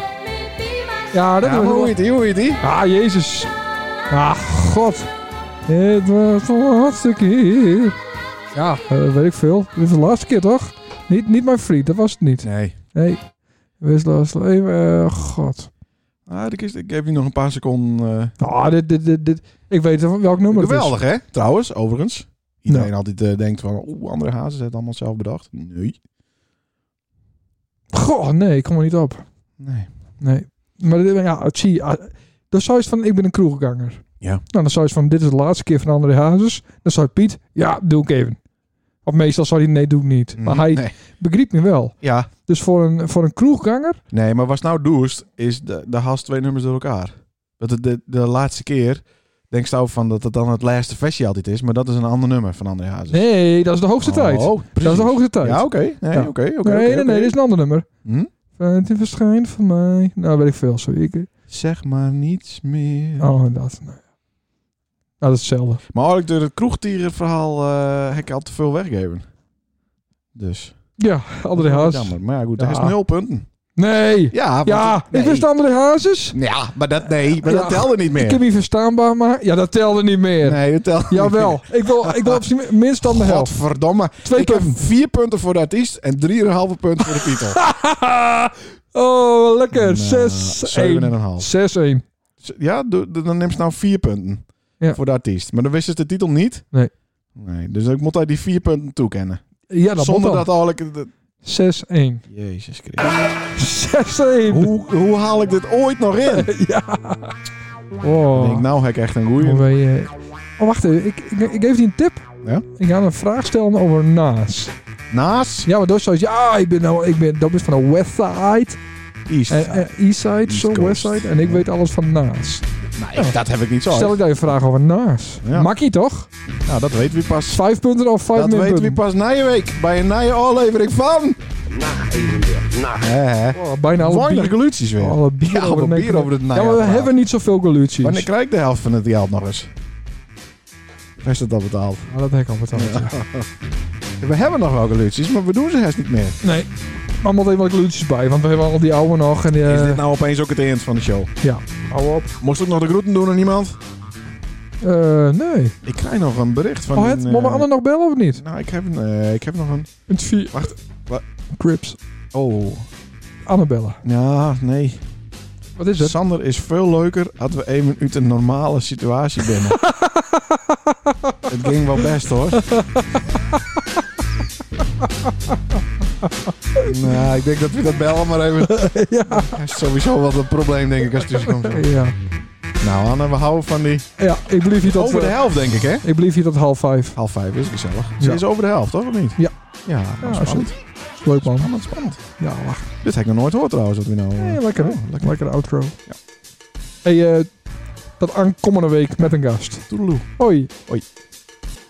Speaker 3: Ja, dat
Speaker 1: Ja, maar
Speaker 3: was
Speaker 1: hoe heet die? Hoe heet die?
Speaker 3: Ah, Jezus. Ah, God. Het was de laatste keer. Ja, eh, weet ik veel. Dit is de laatste keer, toch? Niet, niet mijn vriend, dat was het niet.
Speaker 1: Nee.
Speaker 3: Nee. Dit is de laatste even. eh, God.
Speaker 1: Ah, ik, is, ik geef nu nog een paar seconden. eh,
Speaker 3: Ah, dit, dit, dit, dit. Ik weet van welk nummer het is.
Speaker 1: Geweldig, hè? Trouwens, overigens. Iedereen
Speaker 3: Nou.
Speaker 1: altijd eh, denkt van, oeh, andere hazen hebben het allemaal zelf bedacht. Nee.
Speaker 3: Goh, nee, ik kom er niet op.
Speaker 1: Nee.
Speaker 3: Nee. Maar dit- ja, het zie je. ah, Dan zou je van, ik ben een kroegganger.
Speaker 1: Ja.
Speaker 3: Nou, dan zou je van, dit is de laatste keer van André Hazes. Dan zou Piet, ja, doe ik even. Of meestal zou hij, nee, doe ik niet. Maar hij
Speaker 1: Mm. Mhm. Nee.
Speaker 3: begreep me wel.
Speaker 1: Ja.
Speaker 3: Dus voor een, voor een kroegganger,
Speaker 1: Nee, maar wat ze nou doest, is de, de haast twee nummers door elkaar. Dat de, de, de laatste keer denk je van dat het dan het laatste versie altijd is, maar dat is een ander nummer van André Hazes.
Speaker 3: nee, dat is de hoogste tijd.
Speaker 1: Oh, precies.
Speaker 3: Dat is de hoogste tijd.
Speaker 1: Ja, oké. Nee,
Speaker 3: Ja.
Speaker 1: oké, oké. oké,
Speaker 3: nee, nee,
Speaker 1: oké.
Speaker 3: nee, dit is een ander nummer.
Speaker 1: Hm?
Speaker 3: Eh, Het verschijnt van mij. Nou, weet ik veel. Sorry. Ik,
Speaker 1: Zeg maar niets meer.
Speaker 3: oh, dat. Nou, ja. Nou, dat is hetzelfde.
Speaker 1: Maar eigenlijk door het kroegtierenverhaal eh heb ik al te veel weggegeven. Dus.
Speaker 3: Ja, André
Speaker 1: Dat is wel
Speaker 3: Hazes.
Speaker 1: Jammer. Maar ja, goed, hij
Speaker 3: Ja.
Speaker 1: is nul punten.
Speaker 3: Nee!
Speaker 1: Ja, want-
Speaker 3: Ja,
Speaker 1: nee.
Speaker 3: ik wist André Hazes.
Speaker 1: Ja, maar dat, nee, maar
Speaker 3: Ja.
Speaker 1: dat telde niet
Speaker 3: Ik
Speaker 1: meer.
Speaker 3: heb hier verstaanbaar maar. Ja, dat telde niet meer.
Speaker 1: Nee, dat telde <laughs>
Speaker 3: Jawel. Ik wil, ik wil op zijn minst dan de helft.
Speaker 1: Godverdomme.
Speaker 3: Twee
Speaker 1: ik heb
Speaker 3: punten. <laughs>
Speaker 1: vier punten voor de artiest en drieënhalve punten voor de titel.
Speaker 3: oh, lekker.
Speaker 1: Nou,
Speaker 3: 6-1.
Speaker 1: 7,5.
Speaker 3: 6-1.
Speaker 1: Ja, doe- doe- dan neemt ze nou vier punten
Speaker 3: Ja.
Speaker 1: voor de artiest. Maar dan wisten ze de titel niet.
Speaker 3: Nee.
Speaker 1: Nee, dus ik moet hij die vier punten toekennen.
Speaker 3: Ja, dat
Speaker 1: Zonder
Speaker 3: moet dan.
Speaker 1: dat al ik... het-
Speaker 3: <laughs> 6-1.
Speaker 1: Jezus Christus.
Speaker 3: 6-1.
Speaker 1: Hoe, hoe haal ik dit ooit nog
Speaker 3: Oh.
Speaker 1: in?
Speaker 3: <laughs> ja.
Speaker 1: Ik
Speaker 3: Oh.
Speaker 1: denk, nou heb ik echt een
Speaker 3: Maar
Speaker 1: goeie.
Speaker 3: wij, eh, Oh, wacht even. Ik, ik, ik geef die een tip.
Speaker 1: Ja?
Speaker 3: Ik ga een vraag stellen over naast.
Speaker 1: Naast
Speaker 3: Ja, maar dat is zoiets. Ja, ik ben nou, ik ben, dat is van de West Side.
Speaker 1: East.
Speaker 3: En, en East Side,
Speaker 1: East
Speaker 3: zo
Speaker 1: Coast.
Speaker 3: West Side. En ik weet alles van naast.
Speaker 1: nee, dat heb Nou, ik niet zo.
Speaker 3: Stel ik daar een vraag over naast.
Speaker 1: Ja.
Speaker 3: Makkie toch?
Speaker 1: Nou, dat weten we pas.
Speaker 3: Vijf punten of vijf
Speaker 1: Dat
Speaker 3: minpunten?
Speaker 1: weten we pas na je week. Bij een na je aflevering van... Na evenbeeld.
Speaker 3: Oh, bijna alle
Speaker 1: Weinig
Speaker 3: bier,
Speaker 1: geluutjes weer.
Speaker 3: alle bier,
Speaker 1: Ja,
Speaker 3: over,
Speaker 1: alle
Speaker 3: de nek.
Speaker 1: bier over het
Speaker 3: Ja, maar we
Speaker 1: najaar.
Speaker 3: hebben niet zoveel geluutjes.
Speaker 1: Wanneer krijg ik de helft van het geld nog eens? Rest het al betaald.
Speaker 3: Ah, dat heb ik al betaald. ja.
Speaker 1: We hebben nog wel geluutjes, maar we doen ze haast niet meer.
Speaker 3: Nee, maar moet even wat geluutjes bij, want we hebben al die oude nog. En, eh,
Speaker 1: Is dit nou opeens ook het eind van de show?
Speaker 3: Ja, hou op.
Speaker 1: Moest ook nog de groeten doen aan iemand?
Speaker 3: Eh, nee.
Speaker 1: Ik krijg nog een bericht van...
Speaker 3: Oh, het,
Speaker 1: een,
Speaker 3: mogen we
Speaker 1: eh,
Speaker 3: Anne nog bellen of niet?
Speaker 1: Nou, ik heb, een, eh, ik heb nog een...
Speaker 3: Het vier.
Speaker 1: Wacht, wa-
Speaker 3: Crips.
Speaker 1: Oh,
Speaker 3: Anne bellen.
Speaker 1: ja, nee.
Speaker 3: Wat is het?
Speaker 1: Sander is veel leuker als we even uit een normale situatie
Speaker 3: <laughs>
Speaker 1: binnen. het ging wel best hoor. nou, ik denk dat we dat bellen maar even.
Speaker 3: <laughs> ja.
Speaker 1: Dat is sowieso wel een probleem denk ik als het tussenkomt.
Speaker 3: ja.
Speaker 1: Nou Anne, we houden van die...
Speaker 3: Ja, ik blijf hier tot,
Speaker 1: Over de
Speaker 3: eh,
Speaker 1: helft denk ik hè?
Speaker 3: ik blijf hier tot half vijf.
Speaker 1: Half vijf is gezellig. Ze
Speaker 3: Ja.
Speaker 1: is over de helft, toch? Of niet?
Speaker 3: Ja.
Speaker 1: Ja,
Speaker 3: Ja,
Speaker 1: spannend.
Speaker 3: Is Leuk man.
Speaker 1: Spannend, spannend.
Speaker 3: Ja, wacht.
Speaker 1: Dit heb ik nog nooit gehoord trouwens. Wat we nou, eh,
Speaker 3: Hey, lekker, hè?
Speaker 1: oh,
Speaker 3: lekker. Lekker outro.
Speaker 1: Ja.
Speaker 3: Hey, eh, tot aankomende week met een gast.
Speaker 1: Toedeloe.
Speaker 3: Hoi.
Speaker 1: Hoi.